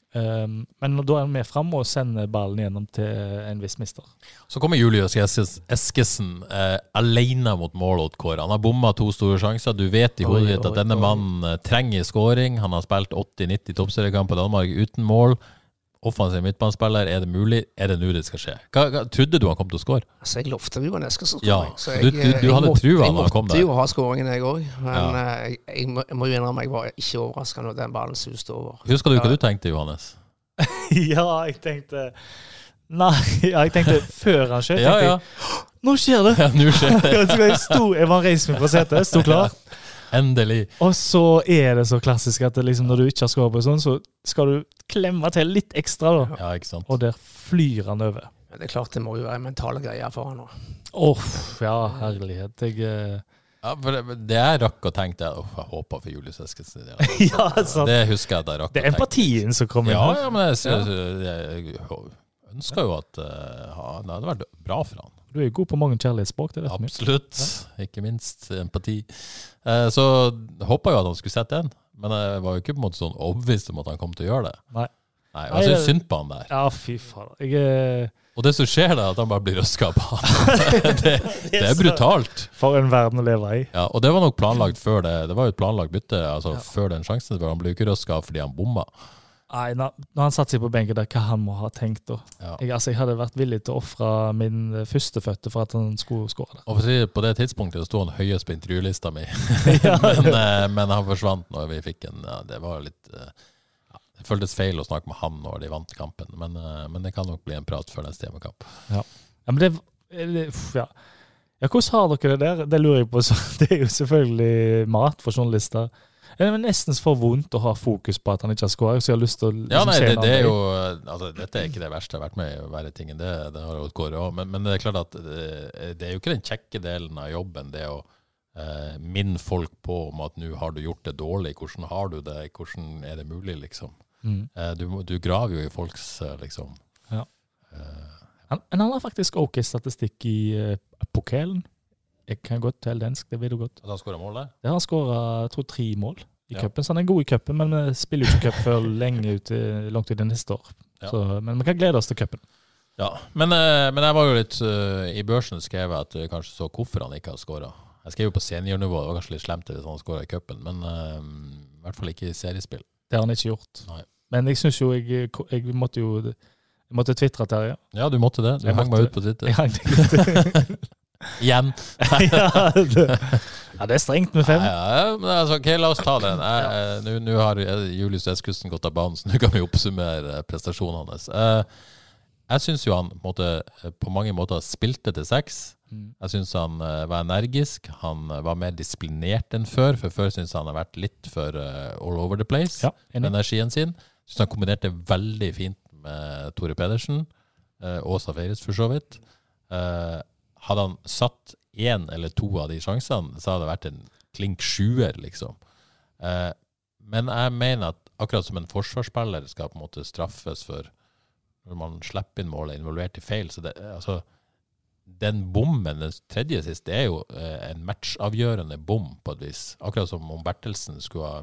Um, men da er han med fram og sender ballen gjennom til en viss mister.
Så kommer Julius Eskes- Eskesen eh, alene mot mål Odd Kåre. Han har bomma to store sjanser. Du vet i
Oi,
hodet ditt at
oi,
denne
oi.
mannen eh, trenger scoring. Han har spilt 80-90 toppseriekamper i Danmark uten mål. Offensiv midtbanespiller, er det mulig? Er det nå det skal skje? Hva, hva, trodde du han kom til å score?
Altså, jeg lovte jo en
Ja,
Eskesen-skåring. så eh,
du- du- du hadde
måtte-
trua da han kom der.
Jeg måtte jo ha skåringen, jeg òg. Men
Ja.
eh, jeg, jeg, må, jeg må jo innrømme jeg var ikke overraska når den ballen suste over.
Husker du hva du tenkte, Johannes?
ja, jeg tenkte Nei, ja, jeg tenkte før han skjøt.
Ja,
tenkte
ja.
jeg, Nå skjer det!
ja nå skjer det.
Jeg sto- jeg var reist meg fra setet, sto klar.
Endelig.
Og så er det så klassisk at det liksom, når du ikke har skåret på sånn, så skal du klemme til litt ekstra, da.
Ja, ikke sant.
Og der flyr han over.
Men det er klart det må jo være mentale greier for han nå.
Åh, ja, herlighet. Jeg, eh,
Ja, for det, det jeg rakk å tenke, det er Uff, jeg håper for Julius Eskesen. Ja.
ja, sant.
Det husker jeg at jeg rakk
Det
å
er
tenke.
empatien som kommer inn
Ja,
her.
ja, men jeg, jeg, jeg ønsker jo at eh, ha- Det hadde vært bra for han.
Du er jo god på mange kjærlighetsspråk. det er det som er.
Absolutt. Ikke minst empati. Eh, Så håpa jo at han skulle sette den, men jeg var jo ikke på en måte sånn overbevist om at han kom til å gjøre det.
Nei.
Nei, og Jeg
Nei,
syns
det-
synd på han der.
Ja, fy fader. Jeg eh, er
Og det som skjer, da, er at han bare blir røska på. Det, det er brutalt.
for en verden å leve i.
Ja, og det var nok planlagt før det. Det var jo et planlagt bytte altså før den sjansen. for Han ble jo ikke røska fordi han bomma.
Nei, na- Når han satte seg på benken der, hva han må ha tenkt da?
Ja.
Jeg, altså, jeg hadde vært villig til å ofre min eh, førstefødte for at han skulle skåre der.
Og for å si det, På det tidspunktet sto han høyest på intervjulista mi, men, eh, men han forsvant når vi fikk en ja, Det var litt eh, ja, Det føltes feil å snakke med han når de vant kampen, men, eh, men det kan nok bli en prat før neste hjemmekamp.
Ja, men det, er det uff, ja. ja, hvordan har dere det der? Det lurer jeg på. Så, det er jo selvfølgelig mat for journalister. Det er nesten for vondt å ha fokus på at han ikke har skåret, så jeg har lyst til å liksom,
Ja, nei,
se
det,
en
det er
annen
jo eh, altså, Dette er ikke det verste jeg har vært med i å være i tingen, det, det har jo gått òg. Men, men det er klart at eh, det, det er jo ikke den kjekke delen av jobben, det å eh, minne folk på om at nå har du gjort det dårlig, hvordan har du det, hvordan er det mulig, liksom.
Mm.
Eh, du, må- du graver jo i folks eh, liksom
Ja.
eh,
Han, men han har faktisk OK statistikk i eh, pokalen. Jeg kan godt telle dansk, det vet du godt.
At han skåra mål der?
Der har han skåra tre mål i
Ja.
cupen, så han er god i cupen, men vi spiller jo ikke cup før lenge ut, i- langt ut i neste år.
Ja.
Så, men vi kan glede oss til cupen.
Ja. Men, eh, men jeg var jo litt eh, I børsen skrev jeg at jeg kanskje så hvorfor han ikke har skåra. Jeg skrev jo på seniornivå, det var kanskje litt slemt hvis han skåra i cupen, men eh, i hvert fall ikke i seriespill.
Det har han ikke gjort.
Nei.
Men jeg syns jo jeg, jeg måtte jo jeg måtte tvitre, Terje.
Ja, du måtte det. Du
Jeg
hang
måtte
meg ut
det.
på Twitter.
Jeg hang deg litt.
Igjen.
ja, det- ja, det er strengt med fem.
Nei, ja, men altså, ok, la oss ta den. Jeg, eh, Nå nå har eh, Julius Eskussen gått av banen, så nå kan vi oppsummere eh, prestasjonene hans. Eh, Jeg syns jo han på, en måte, eh, på mange måter spilte til seks.
Mm.
Jeg syns han eh, var energisk. Han eh, var mer disiplinert enn før, for før syns jeg han har vært litt for eh, all over the place
Ja,
med
enig.
energien sin. Syns han kombinerte veldig fint med Tore Pedersen eh, og Safaris, for så vidt. Eh, hadde han satt én eller to av de sjansene, så hadde det vært en klink sjuer, liksom. Eh, men jeg mener at akkurat som en forsvarsspiller skal på en måte straffes for når man slipper inn mål og er involvert i feil, så det, altså, den bommen, den tredje sist, det er jo eh, en matchavgjørende bom på et vis. Akkurat som om Bertelsen skulle ha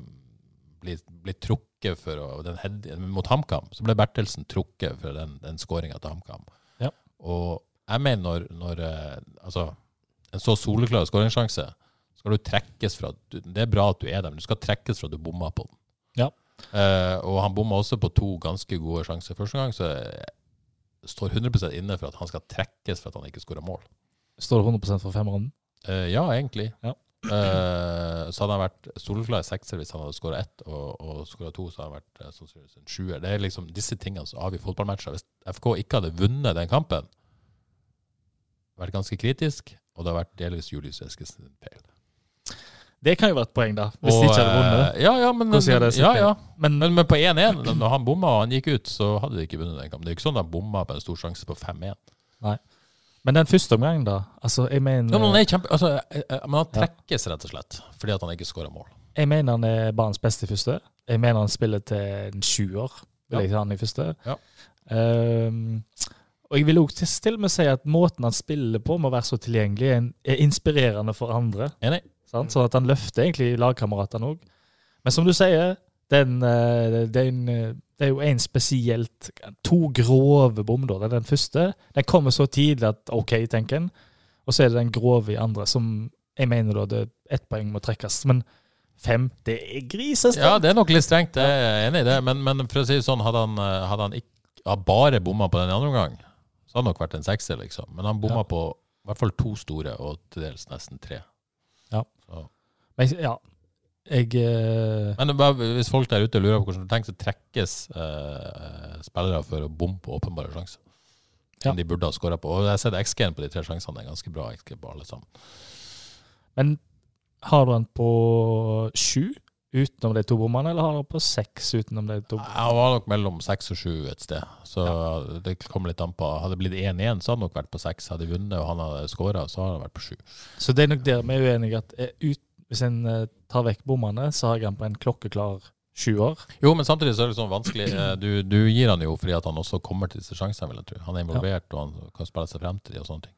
blitt, blitt trukket for å, den head, mot HamKam, så ble Bertelsen trukket for den, den skåringa til HamKam.
Ja.
Og jeg mener når, når eh, altså, en så soleklar skåringssjanse, skal du trekkes fra du- Det er bra at du er der, men du skal trekkes fra at du bomma på den.
Ja.
Eh, og han bomma også på to ganske gode sjanser første gang, så jeg står 100 inne for at han skal trekkes for at han ikke skåra mål.
Står det 100 for femrunden?
Eh, ja, egentlig.
Ja.
Eh, så hadde han vært soleklar sekser hvis han hadde skåra ett, og, og skåra to, så hadde han vært eh, sannsynligvis en sjuer. Det er liksom disse tingene som avgjør fotballmatcher. Hvis FK ikke hadde vunnet den kampen, vært ganske kritisk, og det har vært delvis Julius Eskesen sin feil.
Det kan jo være et poeng, da. Hvis
Og,
de ikke hadde vunnet.
eh, Ja, ja, men,
Hvordan gjør det sitt
ja,
feil?
ja.
Men,
Men, men på 1-1, når han bomma og han gikk ut, så hadde de ikke vunnet den kampen. Det er jo ikke sånn at han bomma på en stor sjanse på 5-1.
men den første omgangen, da. Altså, jeg
Ja, men, han
mener,
er kjempe, altså, eh, eh, men han trekkes rett og slett fordi at han ikke skåra mål.
jeg mener han er banens beste i første. Jeg mener han spiller til en sjuer, vil
Ja.
jeg ta han i første.
Ja.
Ehm, og jeg vil òg til og med si at måten han spiller på med å være så tilgjengelig, er en- er inspirerende for andre.
Enig?
Sant? Sånn at han løfter egentlig lagkameratene òg. Men som du sier, den, eh, den, eh, det er jo en spesielt To grove bommer. Det er den første. Den kommer så tidlig at OK, tenker en. Og så er det den grove i andre, som jeg mener da det ett poeng må trekkes. Men fem, det er grisestrengt.
Ja, det er nok litt strengt, jeg er enig i det. Men, men for å si det sånn, hadde han, eh, hadde han ikke hadde bare bomma på den i andre omgang, så hadde det nok vært en sekser, liksom. Men han bomma
Ja.
på i hvert fall to store, og til dels nesten tre.
Men jeg- ja, jeg eh,
Men det er bare, hvis folk der ute lurer på hvordan du tenker, så trekkes eh, spillere for å bomme på åpenbare sjanser.
Ja.
Som de burde ha skåra på. Og jeg har sett XG-en på de tre sjansene, det er ganske bra XG på alle sammen.
Men har du den på sju utenom de to bommene, eller har du den på seks utenom de to?
Jeg var nok mellom seks og sju et sted, så det kom litt an på. Hadde det blitt 1-1, så hadde det nok vært på seks. Hadde de vunnet og han hadde skåra, så hadde det vært på sju.
Så det er nok der vi er uenige. at eh, ut, Hvis en eh, tar vekk bommene, så har jeg han på en klokkeklar sjuer.
Jo, men samtidig så er det sånn vanskelig. Eh, Du, du gir han jo fordi at han også kommer til disse sjansene, vil jeg tro. Han er involvert, og han kan spille seg frem til de og sånne ting.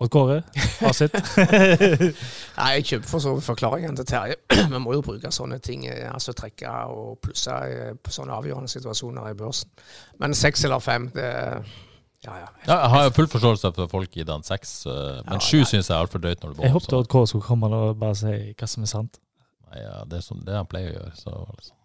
Og Kåre, fasit.
Nei, Jeg kjøper for så vidt forklaringen til Terje. Vi må jo bruke sånne ting, eh, altså trekke og plusse eh, på sånne avgjørende situasjoner i børsen. Men seks eller fem, det Ja, ja.
Ja, jeg har jo full forståelse for at folk gir han seks, eh,
Ja,
men sju syns jeg er altfor drøyt når du
jeg
bommer.
håpet at Kåre skulle komme og bare si hva som er sant.
Nei, ja, det er sånn, det han pleier å gjøre. Så, liksom.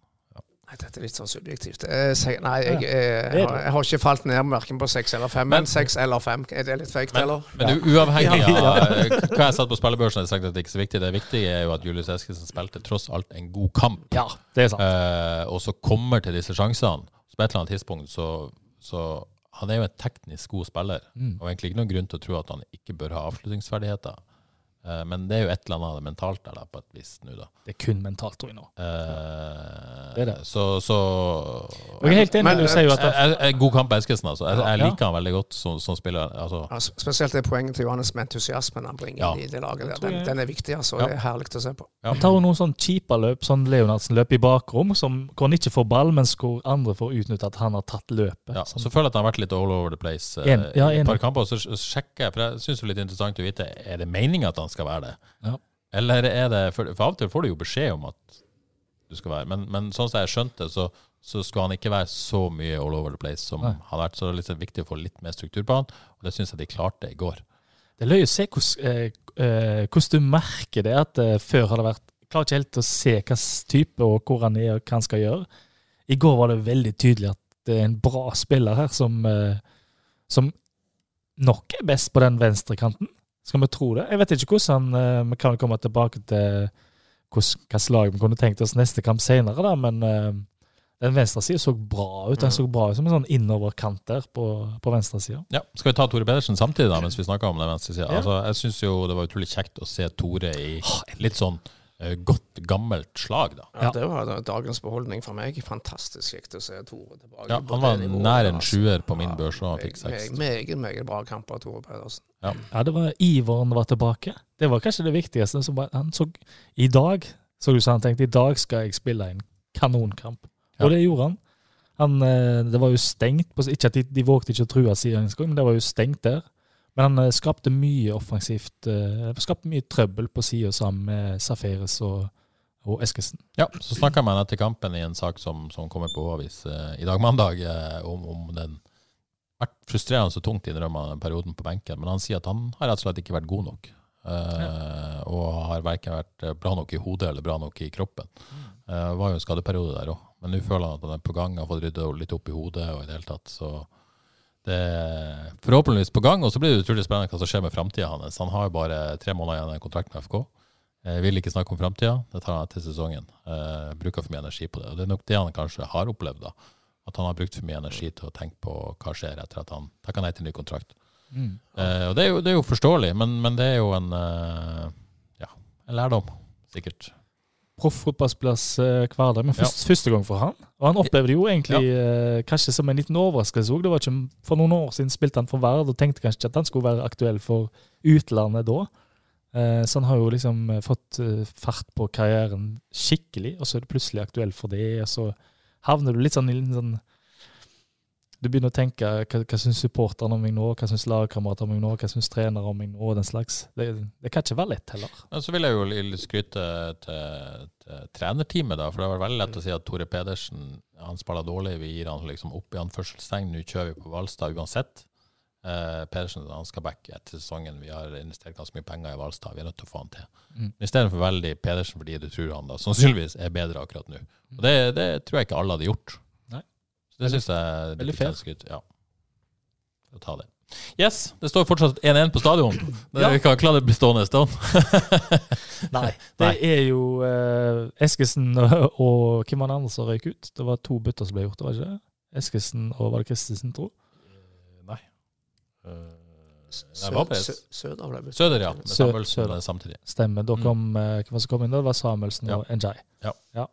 Nei, dette er litt sånn subjektivt. Eh, se- Nei, jeg,
Ja,
eh,
det er
har, jeg har ikke falt ned verken på seks eller fem,
Men-
men seks eller fem, er det litt feigt,
Men,
eller?
men du, uavhengig
Ja.
av eh, hva jeg satt på spillebørsen, har jeg sagt at det ikke er så viktig. Det viktige er jo at Julius Eskesen spilte tross alt en god kamp,
Ja, det er sant.
eh, og så kommer til disse sjansene. Så på et eller annet tidspunkt så, så Han
Mm.
er jo en teknisk god spiller, og egentlig ikke noen grunn til å tro at han ikke bør ha avslutningsferdigheter. Eh, Men det er jo et eller annet av det mentalt der, da, på et vis nå, da.
Det er kun mentalt, tror jeg nå.
Eh,
Det er det.
Så, så
Jeg er helt enig.
Men-
Du sier jo at
Jeg- jeg- jeg- God kamp, Eskesen, altså. Jeg, jeg
Ja.
liker han veldig godt som, som spiller. Altså,
Ja, sp- spesielt det poenget til Johannes med entusiasmen han bringer
Ja.
inn i det laget. der.
tror
Den,
jeg-
den er viktig, altså.
Ja.
Det er herlig å se på.
ja.
Han tar jo noen sånn kjipe løp, sånn Leonardsen-løp i bakrom, som, hvor han ikke får ball, mens hvor andre får utnytte at han har tatt løpet.
Ja,
Sånn.
så føler jeg at han har vært litt all over the place eh,
En- ja,
i et par
enig.
kamper. Så sj- sjekker jeg, for jeg syns det er litt interessant å vite er det meninga at han skal være det.
Ja.
Eller er det For, for av og til får du jo beskjed om at du skal være Men, men sånn som jeg skjønte, så, så skulle han ikke være så mye all over the place som
Nei.
han har vært. Så det er litt sånn viktig å få litt mer struktur på han, og det syns jeg de klarte i går.
Det er løye å se hvordan eh, eh, hvordan du merker det. At eh, før har det vært Klarer ikke helt å se hva s- type og hvor han er og hva han skal gjøre. I går var det veldig tydelig at det er en bra spiller her som, eh, som nok er best på den venstrekanten. Skal vi tro det? Jeg vet ikke hvordan eh, Vi kan komme tilbake til hvordan, hva slag vi kunne tenkt oss neste kamp senere, da, men eh, den venstre sida så bra ut. Den så bra ut som en sånn innoverkant der på, på venstre sida.
Ja, Skal vi ta Tore Pedersen samtidig, da, mens vi snakker om den venstre sida?
Ja.
Altså, jeg syns jo det var utrolig kjekt å se Tore i litt sånn eh, godt, gammelt slag, da.
Ja,
Ja.
Det var da- dagens beholdning for meg. Fantastisk kjekt å se Tore tilbake.
Ja,
på
han
det
var
nivået
nær
der,
en
altså.
sjuer på min
Ja,
børs, og han
meg-
fikk seks.
meg- Meget, meget bra kamp av Tore Pedersen.
Ja, det var Iveren var tilbake. Det var kanskje det viktigste. Så bare, han så, I dag så du så han tenkte i dag skal jeg spille en kanonkamp.
Ja.
Og det gjorde han. han eh, det var jo stengt. på- Ikke at de, de vågte ikke å true siden engang, men det var jo stengt der. Men han eh, skapte mye offensivt eh, Skapte mye trøbbel på sida sammen med Safaris og, og Eskesen.
Ja, så snakka jeg med han etter kampen i en sak som, som kommer på Håvis eh, i dag mandag, eh, om, om den vært frustrerende så tungt innrømmer han den perioden på benken, men han sier at han har rett og slett ikke vært god nok. eh, Og har verken vært eh, bra nok i hodet eller bra nok i kroppen. Eh, Det var jo en skadeperiode der òg, men nå føler han at han er på gang, har fått rydda litt opp i hodet og i det hele tatt, så det er forhåpentligvis på gang, og så blir det utrolig spennende hva som skjer med framtida hans. Han har jo bare tre måneder igjen av kontrakten med FK. Jeg Eh, vil ikke snakke om framtida, det tar han etter sesongen. Eh, bruker for mye energi på det. Og det er nok det han kanskje har opplevd, da. At han har brukt for mye energi til å tenke på hva skjer etter at han takker nei til ny kontrakt. Eh, og det er, jo, det er jo forståelig, men, men det er jo en eh, ja, en lærdom, sikkert.
Proff fotballplass eh, hverdag, men først, første gang for han. Og han opplevde jo egentlig eh, kanskje som en liten overraskelse òg. For noen år siden spilte han for Verd og tenkte kanskje ikke at han skulle være aktuell for utlandet da. Eh, så han har jo liksom eh, fått eh, fart på karrieren skikkelig, og så er du plutselig aktuell for det, og så havner du litt sånn i en sånn Du begynner å tenke hva, hva syns supporterne om meg nå, hva syns lagkamerater om meg nå, hva syns trenere om meg nå, og den slags. Det, det kan ikke være lett heller.
Men så vil jeg jo li- skryte til, til trenerteamet, da. For det var veldig lett å si at Tore Pedersen han spiller dårlig, vi gir han liksom opp i anførselstegn, nå kjører vi på Hvalstad uansett. Eh, Pedersen han skal back etter sesongen, vi har investert ganske mye penger i Hvalstad, vi er nødt til å få han til.
Mm.
Men i stedet for veldig Pedersen fordi du tror han da sannsynligvis er bedre akkurat nå. Og det, det tror jeg ikke alle hadde gjort.
Mm. Nei.
Så det syns jeg
veldig
det fortjener skryt. Ja. Å ta det. Yes, det står fortsatt 1-1 på stadion. Det,
Ja.
Vi kan ikke la det bli stående en stund.
Nei. Det er jo eh, Eskesen og, og hvem var den andre som røyk ut? Det var to bytter som ble gjort, det var ikke det? Eskesen og var det Christensen, tro?
Nei. Nei,
Sø-
Valdres.
Sø- Søder ble byttet.
Søder, ja. Eh, Med
Sø-
Samuelsen
Søder.
eh, samtidig.
Stemmer. Da kom, eh, hvem var det som kom inn? da? Det var Samuelsen
Ja.
og Njay.
Ja.
Ja.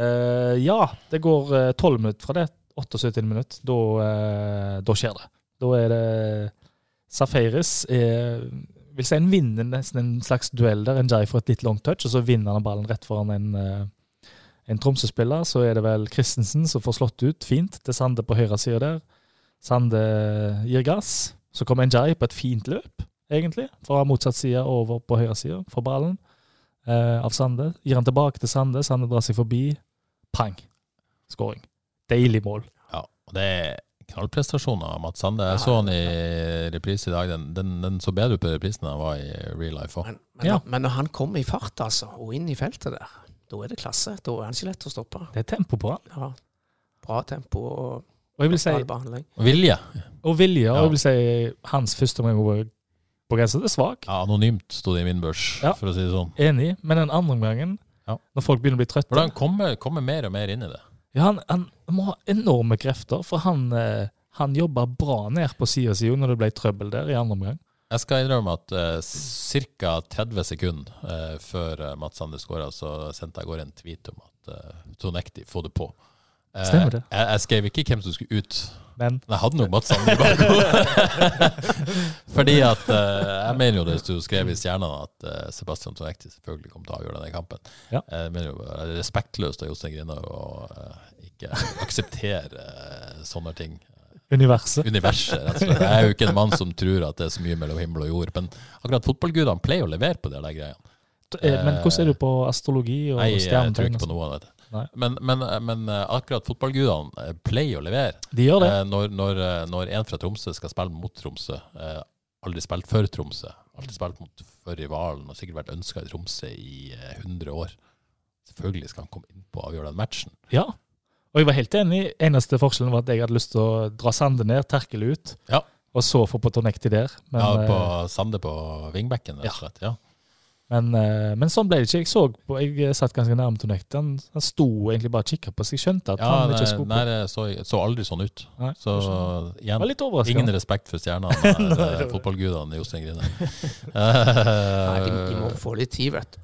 Eh, ja, det går eh, tolv minutter fra det. 78 minutter. Da, eh, da skjer det. Da er det Safaris er, vil si han vinner nesten en slags duell der. Njay får et litt long touch, og så vinner han ballen rett foran en, eh, en Tromsø-spiller. Så er det vel Christensen som får slått ut fint til Sande på høyre side der. Sande gir gass. Så kommer Njay på et fint løp, egentlig. Fra motsatt side over på høyre side, for ballen eh, av Sande. Gir han tilbake til Sande, Sande drar seg forbi. Pang! Skåring. Deilig mål.
Ja, og det er knallprestasjoner av Mats Sande. Jeg så han i reprise i dag. Den, den, den så bedre ut på reprisen enn han var i real life òg.
Men, men,
Ja.
men når han kommer i fart, altså, og inn i feltet der, da er det klasse. Da er han ikke lett å stoppe.
Det er tempo på han.
Ja. Bra tempo og
Og jeg vil si,
bra behandling.
Vilje.
og vilje, og
Ja.
jeg vil si hans første omgang over på grensa er svak.
Ja, anonymt sto det i min børs,
Ja.
for å si det sånn.
Enig. Men den andre omgangen,
Ja.
når folk begynner å bli trøtte
Hvordan kommer, kommer mer og mer inn i det?
Ja, han, han må ha enorme krefter, for han, eh, han jobba bra ned på sida si når det ble trøbbel der i andre omgang.
Jeg skal innrømme at uh, ca. 30 sekunder eh, før eh, Mats Sander skåra, så sendte jeg av gårde en tweet om at uh, Tonekti, få det på. Eh,
Stemmer det.
Jeg, jeg skrev ikke hvem som skulle ut.
Men
Men jeg hadde nok Mats Sander i bakhodet. Fordi at eh, jeg mener jo det du skrev i Stjernene, at eh, Sebastian Tonekti selvfølgelig kom til å avgjøre denne kampen.
Ja.
Jeg mener jo eh, det er respektløst av Jostein Grinaug å eh, ikke akseptere eh, sånne ting
universet
universet, rett og slett. Jeg er jo ikke en mann som tror at det er så mye mellom himmel og jord, men akkurat fotballgudene pleier å levere på de der greiene.
Eh, Men hvordan er du på astrologi og
Nei, jeg tror
stjernetegn?
ikke på
og sånn? sånt?
noe av det.
Nei.
Men, men, men eh, akkurat fotballgudene eh, pleier å levere.
De gjør det.
Eh, Når, når, eh, når en fra Tromsø skal spille mot Tromsø, eh, aldri spilt for Tromsø, alltid spilt mot for rivalen, og sikkert vært ønska i Tromsø i eh, 100 år. Selvfølgelig skal han komme inn på og avgjøre den matchen.
Ja. Og jeg var helt enig. Eneste forskjellen var at jeg hadde lyst til å dra Sande ned, terkele ut,
Ja.
og så få på Tonekti der. Men,
ja, på
eh,
Sande på vingbekken, rett og slett. Ja.
men, eh, men sånn ble det ikke. Jeg så på, jeg eh, satt ganske nærme Tonekti. Han, han sto egentlig bare og kikka på, så jeg skjønte at
Ja,
han
nei,
ikke skulle
nei,
på.
det så, så aldri sånn ut.
Nei,
Så
jeg var
igjen,
litt overraska.
ingen respekt for stjernene, eller fotballgudene Jostein Grine.
Nei, de, de må få litt tid, vet du.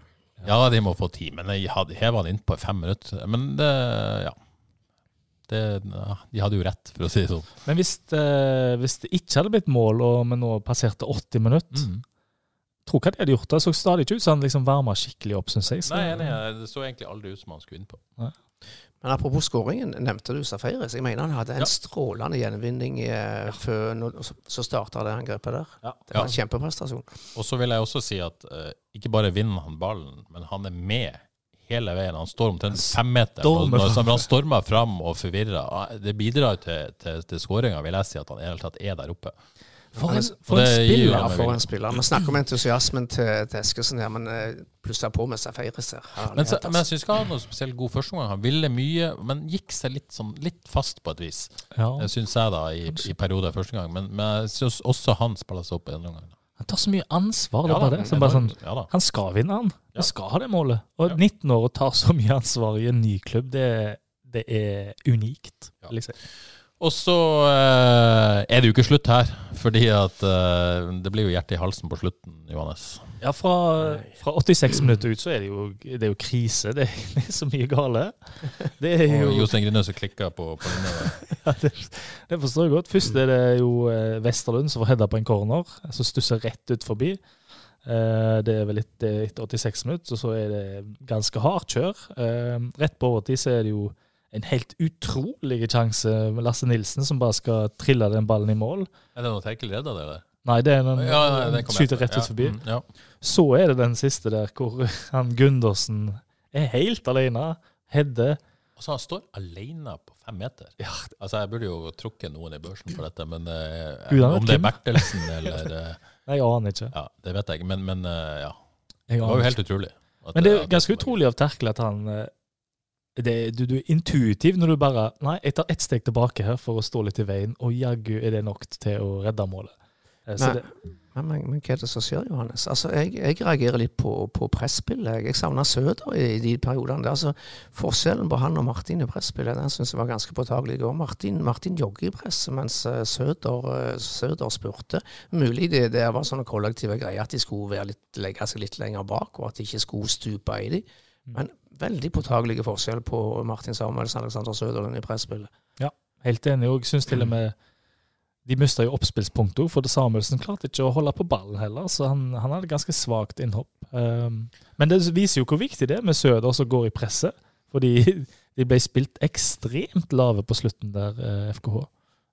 ja, de må få tid, men jeg hadde heva han inn på fem minutter. Men det, ja. Det, ja. De hadde jo rett, for å si det sånn.
Men hvis, eh, hvis det ikke hadde blitt mål, og vi nå passerte 80 minutter
Mm.
Tror ikke at de hadde gjort det. Det så stadig ikke ut som han liksom varma skikkelig opp, syns jeg. Så-
Nei, enig, det så egentlig aldri ut som han skulle inn på.
Men apropos skåringen, nevnte du Safaris. Jeg mener han hadde en
Ja.
strålende gjenvinning i, eh, før når- så- Så starta det angrepet der.
Ja.
Det var en kjempeprestasjon.
Og så vil jeg også si at eh, ikke bare vinner han ballen, men han er med hele veien. Han står omtrent fem meter.
stormer
Når, når,
fram.
når han stormer fram og forvirrer. ah, Det bidrar til, til, til skåringa, vil jeg si, at han i det hele tatt er der oppe.
For en,
Og
for en
det gir jo
spiller!
Ja,
men
for
vi-
en spiller. Vi snakker om entusiasmen til, til Eskesen her, men eh, pluss der på med Safaris her. Herlighet,
Men, så, men
altså.
jeg syns ikke han hadde noe spesielt god førsteomgang. Han ville mye, men gikk seg litt, sånn, litt fast på et vis,
Ja.
syns jeg, da, i, i perioder første gang. Men, men jeg syns også han spiller seg opp i andre omgang.
Han tar så mye ansvar. det
Ja
er bare
da,
det. Så bare sånn,
enormt. Ja da.
han skal vinne, han.
Ja.
Han skal ha det målet. Og
Ja.
19 år og tar så mye ansvar i en ny klubb, det, det er unikt.
Ja.
Liksom.
Og så eh, er det jo ikke slutt her, fordi at eh, det blir jo hjertet i halsen på slutten, Johannes.
Ja, fra, fra 86 minutter ut så er det jo, det er jo krise. Det er, det er så mye gale. Det er
Og
jo
Jostein Grinøy som klikker på, på linja der.
ja, det, det forstår jeg godt. Først er det jo eh, Vesterlund som får heada på en corner, som stusser rett ut forbi. Eh, Det er vel litt eh, etter 86 minutter, og så er det ganske hardt kjør. Eh, Rett på overtid så er det jo en helt utrolig sjanse med Lasse Nilsen, som bare skal trille den ballen i mål.
Er det noe Terkel redda det, eller?
Nei, det er den
nei, det kom jeg
skyter
på.
rett ut forbi.
Ja. mm, Ja.
Så er det den siste der hvor han Gundersen er helt alene. Hedde.
Og så han står alene på fem meter. Altså, jeg burde jo trukket noen i børsen for dette, men eh,
Gud, han er
om det er
Kim.
Bertelsen eller eh,
Nei, jeg aner ikke.
Ja, det vet jeg ikke, men, men eh, ja. Det
Jeg aner
var jo
ikke.
helt utrolig. at eh,
Men det er
at
jo ganske utrolig av Terkel at han eh, det, du, du er intuitiv når du bare Nei, jeg tar ett steg tilbake her for å stå litt i veien, og jaggu er det nok til å redde målet. Eh, Så
Nei.
det,
men, men, men hva er det som skjer, Johannes? Altså, jeg, jeg reagerer litt på, på presspill. Jeg, jeg savner Søder i, de periodene. der. Altså, forskjellen på han og Martin i presspillet den synes jeg var ganske påtagelig. Og Martin, Martin jogger i presset, mens eh, Søder, eh, Søder spurte. Mulig det, det var sånne kollektive greier at de skulle være litt, legge seg litt lenger bak, og at de ikke skulle stupe i de. Men veldig påtagelige forskjell på Martin Samuelsen og Alexander Søderlund i presspillet.
helt enig, og jeg syns til og med de mista jo oppspillspunktet òg, for det Samuelsen klarte ikke å holde på ballen heller, så han, han hadde ganske svakt innhopp. Um, men det viser jo hvor viktig det er med Søder som går i presset, fordi de ble spilt ekstremt lave på slutten der, eh, FKH.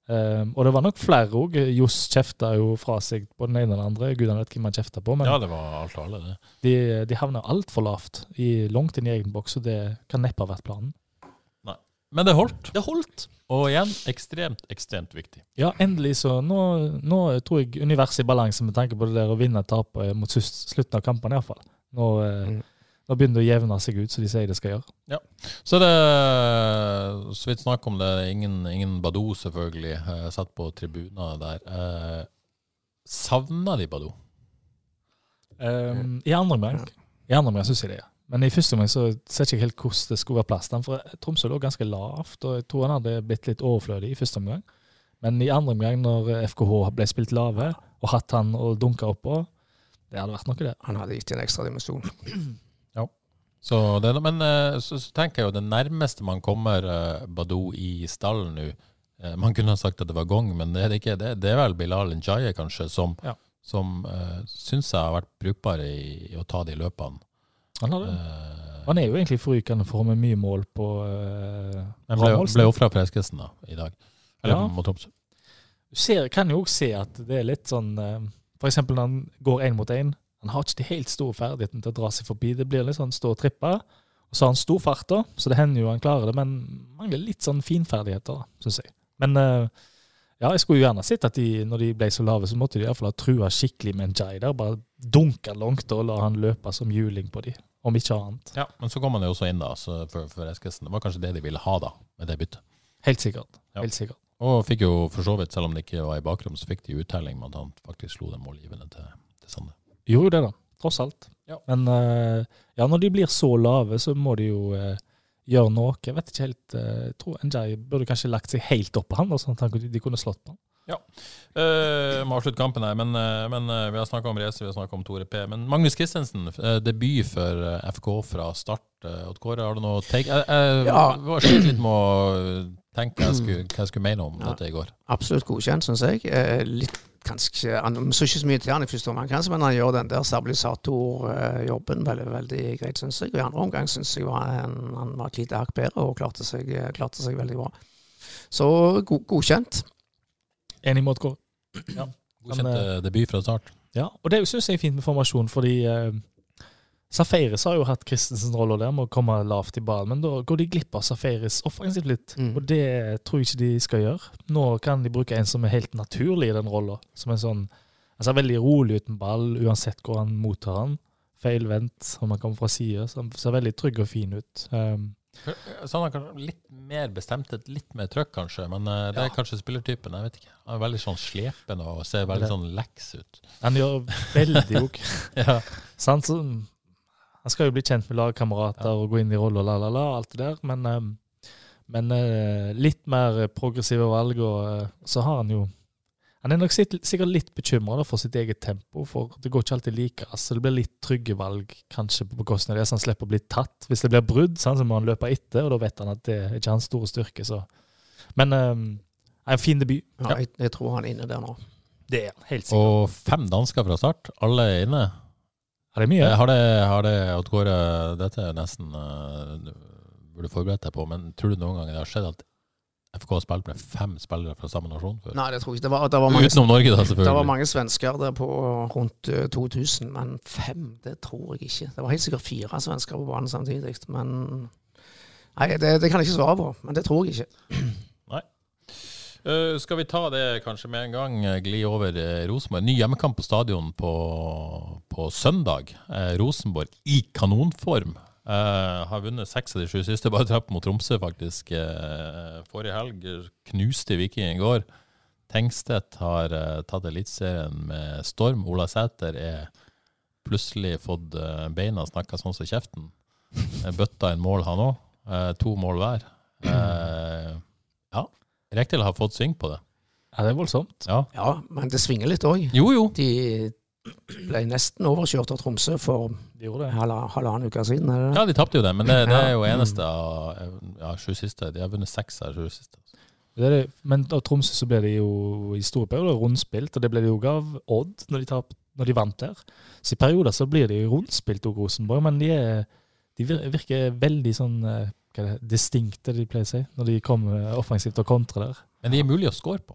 Um, og det var nok flere òg. Johs kjefta jo fra seg på den ene og den andre. Gudene vet hvem han kjefta på, men
Ja, det var alt og alle, det.
de, de havna altfor lavt, i, langt inn i egen boks, og det kan neppe ha vært planen.
Men det holdt.
Det holdt.
Og igjen, ekstremt, ekstremt viktig.
Ja, endelig så Nå, nå tror jeg universet er i balanse med tanke på det der å vinne og tape eh, mot sus- slutten av kampen, iallfall. Nå, eh,
Mm.
nå begynner det å jevne seg ut, som de sier det skal gjøre.
Så det er så vidt snakk om det. Ingen, ingen Badou, selvfølgelig. eh, Satt på tribuner der. Eh, Savna de Badou?
Um, I andre omgang I andre omgang syns jeg det. ja. Men i første omgang så ser jeg ikke helt hvordan det skulle være plass til ham. For Tromsø lå ganske lavt, og jeg tror han hadde blitt litt overflødig i første omgang. Men i andre omgang, når FKH ble spilt lave, og hatt han og dunka oppå. Det hadde vært noe, det.
Han hadde gitt en ekstra dimensjon.
Så det, men eh, så, så tenker jeg jo det nærmeste man kommer eh, Badou i stallen nå eh, Man kunne ha sagt at det var Gong, men det er det ikke. Det, det er vel Bilal Njaye, kanskje, som,
Ja.
som eh, syns jeg har vært brukbar i, i å ta de løpene.
Han, hadde.
Eh,
han er jo egentlig forrykende for med mye mål på uh,
Men ble, ble ofra for Eskesen da, i dag. Eller
Ja.
mot Tromsø.
Du ser, kan jo også se at det er litt sånn eh, For eksempel når han går én mot én. Han har ikke de helt store ferdighetene til å dra seg forbi. Det blir litt sånn stå og trippe. Og så har han stor fart, da, så det hender jo han klarer det, men mangler litt sånn finferdigheter, syns jeg. Men eh, ja, jeg skulle jo gjerne sett at de, når de ble så lave, så måtte de iallfall ha trua skikkelig med en jai der. Bare dunka langt og la han løpe som juling på de, om ikke annet.
Ja, men så kom han jo også inn da, så for, for Eskesen. Det var kanskje det de ville ha da, med det byttet.
Helt sikkert.
Ja.
Helt sikkert.
Og fikk jo for så vidt, selv om det ikke var i bakrom, så fikk de uttelling med at han faktisk slo dem målgivende til, til Sande.
Gjorde jo det, da. Tross alt.
Ja.
Men eh, ja, når de blir så lave, så må de jo eh, gjøre noe. Jeg vet ikke helt eh, Jeg tror Njay burde kanskje lagt seg helt opp på han, da, sånn at han, kunne- de kunne slått på han.
Eh, må avslutte kampen her, men, eh, men eh, vi har snakka om Reze, vi har snakka om Tore P. Men Magnus Christensen, eh, debut for eh, FK fra start. Eh, Odd Kåre, har du noe take? Eh, Jeg, jeg
Ja.
var slitt litt med å tenke hva jeg skulle, hva jeg skulle mene om
Ja.
dette i går.
Absolutt godkjent, syns jeg. Eh, litt kanskje, Han så ikke så mye til han i første omgang, kanskje, men han gjør den der stabilisatorjobben veldig veldig greit, syns jeg. Og I andre omgang syns jeg jo han, han var et lite hakk bedre og klarte seg, eh, klarte seg veldig bra. Så go godkjent.
Enig mot Kåre.
Godkjent
Men,
eh, debut fra start.
Ja, og det syns jeg er fint med formasjon, fordi eh, Safaris har jo hatt Christensen rolla der med å komme lavt i ballen, men da går de glipp av Safaris offensivt litt.
Mm.
Og det tror jeg ikke de skal gjøre. Nå kan de bruke en som er helt naturlig i den rolla. Som en sånn altså veldig rolig uten ball, uansett hvor han mottar han. Feilvendt om han kommer fra sida. Så han ser veldig trygg og fin ut. Um,
Så han har kanskje litt mer bestemt, et litt mer trøkk kanskje, men eh, det er kanskje spillertypen. Jeg vet ikke. Han er veldig sånn slepen og ser veldig
Det-
sånn leks ut.
han gjør veldig ok.
Ja.
Sant? Så, han skal jo bli kjent med lagkamerater og gå inn i roller, la, la, la, alt det der. Men, eh, men eh, litt mer eh, progressive valg, og eh, så har han jo Han er nok sitt, sikkert litt bekymra for sitt eget tempo, for det går ikke alltid like. Altså, det blir litt trygge valg kanskje på bekostning av det, så han slipper å bli tatt. Hvis det blir brudd, sant, så må han løpe etter, og da vet han at det er ikke hans store styrke. Så. Men eh, en fin debut.
Ja, Jeg, jeg tror han er inne der nå.
Det er han, helt sikkert.
Og fem dansker fra start, alle er inne.
Ja, det er mye.
Eh, Har det, har det Odd Kåre, dette er nesten eh, du burde forberedt deg på, men tror du noen gang det har skjedd at FK har spilt med fem spillere fra samme nasjon før?
Nei, det tror jeg ikke. Det var, det var mange,
Utenom Norge, da,
det var
selvfølgelig.
mange svensker der på rundt eh, 2000, men fem, det tror jeg ikke. Det var helt sikkert fire svensker på banen samtidig, men Nei, det, det kan jeg ikke svare på, men det tror jeg ikke.
Eh, skal vi ta det kanskje med en gang, eh, gli over eh, Rosenborg. Ny hjemmekamp på stadion på, på søndag. Eh, Rosenborg i kanonform. Eh, har vunnet seks av de sju siste, bare trapp mot Tromsø faktisk. Eh, forrige helg knuste Viking i går. Tengstedt har eh, tatt Eliteserien med storm. Ola Sæter er plutselig fått eh, beina snakka sånn som kjeften. Eh, Bøtta inn mål, han òg. Eh, to mål hver. Eh, ja. Rekdal har fått sving på det.
Ja, det er voldsomt.
Ja.
Ja, men det svinger litt òg.
Jo, jo.
De ble nesten overkjørt av Tromsø for
De gjorde det.
halva- halvannen uke siden. Er det? det?
Ja, de tapte jo det, men det, det er jo eneste av ja, sju siste. De har vunnet seks av sju siste.
Det er det. Men av Tromsø så ble de jo i store perioder rundspilt, og det ble de jo også av Odd når de, tap, når de vant der. Så i perioder så blir de rundspilt òg, Rosenborg, men de, er, de vir- virker veldig sånn eh, hva er det, distinkte, de pleier å si, når de kommer offensivt og kontrer der.
Men de er mulig å score på.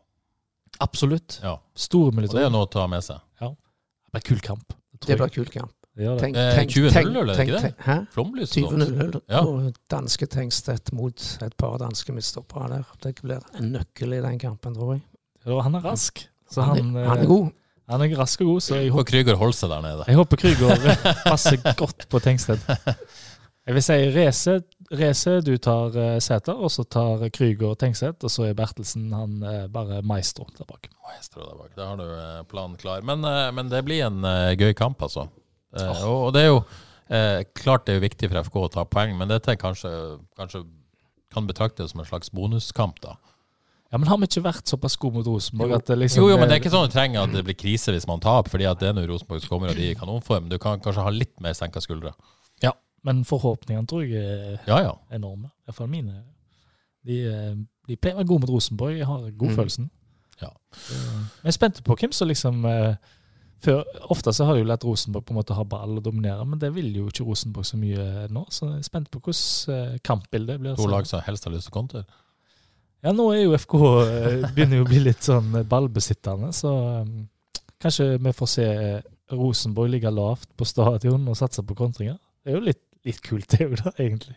Absolutt.
Ja.
Store
Og det er
militære.
noe å ta med seg.
Det blir kul kamp.
Det blir kult kamp.
Det gjør det.
Tenk,
Eh,
tenk,
20-0,
tenk-
eller er det
tenk-
ikke det?
tenk- Hæ?
Flomlys. og sånt.
20-0.
Ja.
Og danske Tengstedt mot et par danske midtstoppere der. Det blir en nøkkel i den kampen, tror jeg.
Og han er rask. Så
Han,
han,
er-
eh,
han er god.
han er rask og god, så jeg
Og Krüger holder seg der nede.
Jeg håper Krüger passer godt på Tengsted. Jeg vil si Rese, Rese du tar eh, Sæter, og så tar Krüger Tengsted, og så er Bertelsen han eh, bare maestro der bak.
Maestro der bak. Da har du eh, planen klar. Men, eh, men det blir en eh, gøy kamp, altså. Eh, og- Og det er jo eh, klart det er jo viktig for FK å ta poeng, men dette er kanskje, kanskje kan betraktes som en slags bonuskamp, da.
Ja, men har vi ikke vært såpass gode mot Rosenborg
Jo.
at det liksom
Jo, jo, men det er ikke sånn at du trenger at det blir krise hvis man taper, fordi at det er nå Rosenborg som kommer, og de er i kanonform. Du kan kanskje ha litt mer senka skuldre.
Ja, men forhåpningene tror jeg er
Ja, ja.
enorme. Iallfall mine. De, eh, de pleier å være gode mot Rosenborg. Jeg har god
Mm.
følelsen.
Ja.
Men jeg er spent på hvem som liksom eh, før, Ofte så har de jo lært Rosenborg på en måte å ha ball og dominere, men det vil jo ikke Rosenborg så mye eh, nå. Så jeg er spent på hvordan eh, kampbildet blir.
To lag som helst har lyst til å kontre.
Ja, nå er jo FK eh, begynner jo å bli litt sånn eh, ballbesittende, så eh, kanskje vi får se eh, Rosenborg ligge lavt på stadion og satse på kontringer. Det er jo litt, litt kult, det er jo da, egentlig.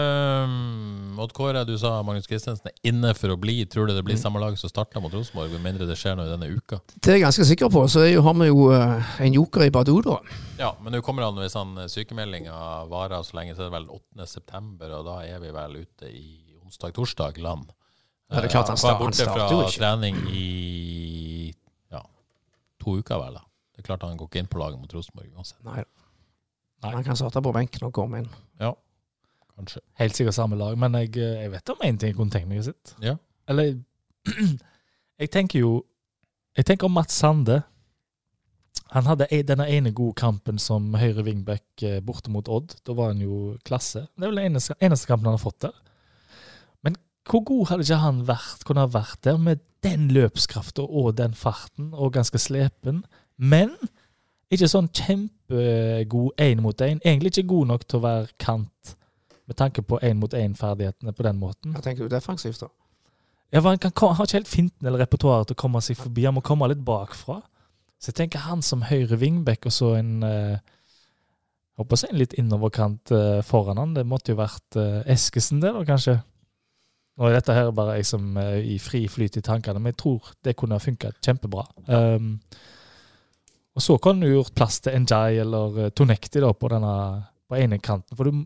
Ehm, Odd Kåre, du sa Magnus Christensen er inne for å bli. Tror du det blir samme lag som starter mot Rosenborg, med mindre det skjer noe i denne uka?
Det er jeg ganske sikker på. Så er jo- har vi jo eh, en joker i Badou, da.
Ja, men nå kommer han sånn, hvis han sykemeldinga varer så lenge, så er det vel 8. september, og da er vi vel ute i onsdag-torsdag land.
Ja, det er klart
Eh, var
han sta- han
borte
starter jo
fra
ikke.
trening i ja, to uker, vel. da. Det er klart han går ikke inn på laget mot Rosenborg uansett.
Nei.
Nei.
Han kan starte på benken og komme inn.
Kanskje.
Helt sikkert samme lag, men jeg, eh, jeg vet om én ting jeg kunne tenkt meg å sitte.
Ja.
Eller jeg tenker jo Jeg tenker om Mats Sande. Han hadde e- denne ene gode kampen som høyre wingback eh, borte mot Odd. Da var han jo klasse. Det er vel den eneste, eneste kampen han har fått der. Men hvor god hadde ikke han vært, kunne han vært der med den løpskrafta og den farten, og ganske slepen? Men ikke sånn kjempegod én mot én. Egentlig ikke god nok til å være kant, med tanke på én mot én-ferdighetene på den måten.
Hva tenker du defensivt, da?
Ja, for han, kan, han har ikke helt finten eller repertoaret til å komme seg forbi. Han må komme litt bakfra. Så jeg tenker han som høyre wingback og så en eh, jeg håper å si en litt innoverkant eh, foran han. Det måtte jo vært eh, Eskesen, det, da, kanskje. Nå er dette her bare jeg som eh, i fri flyt i tankene, men jeg tror det kunne ha funka kjempebra. Um, og så kan du gjort plass til Njay eller eh, Tonekti da, på denne på ene kanten. For du,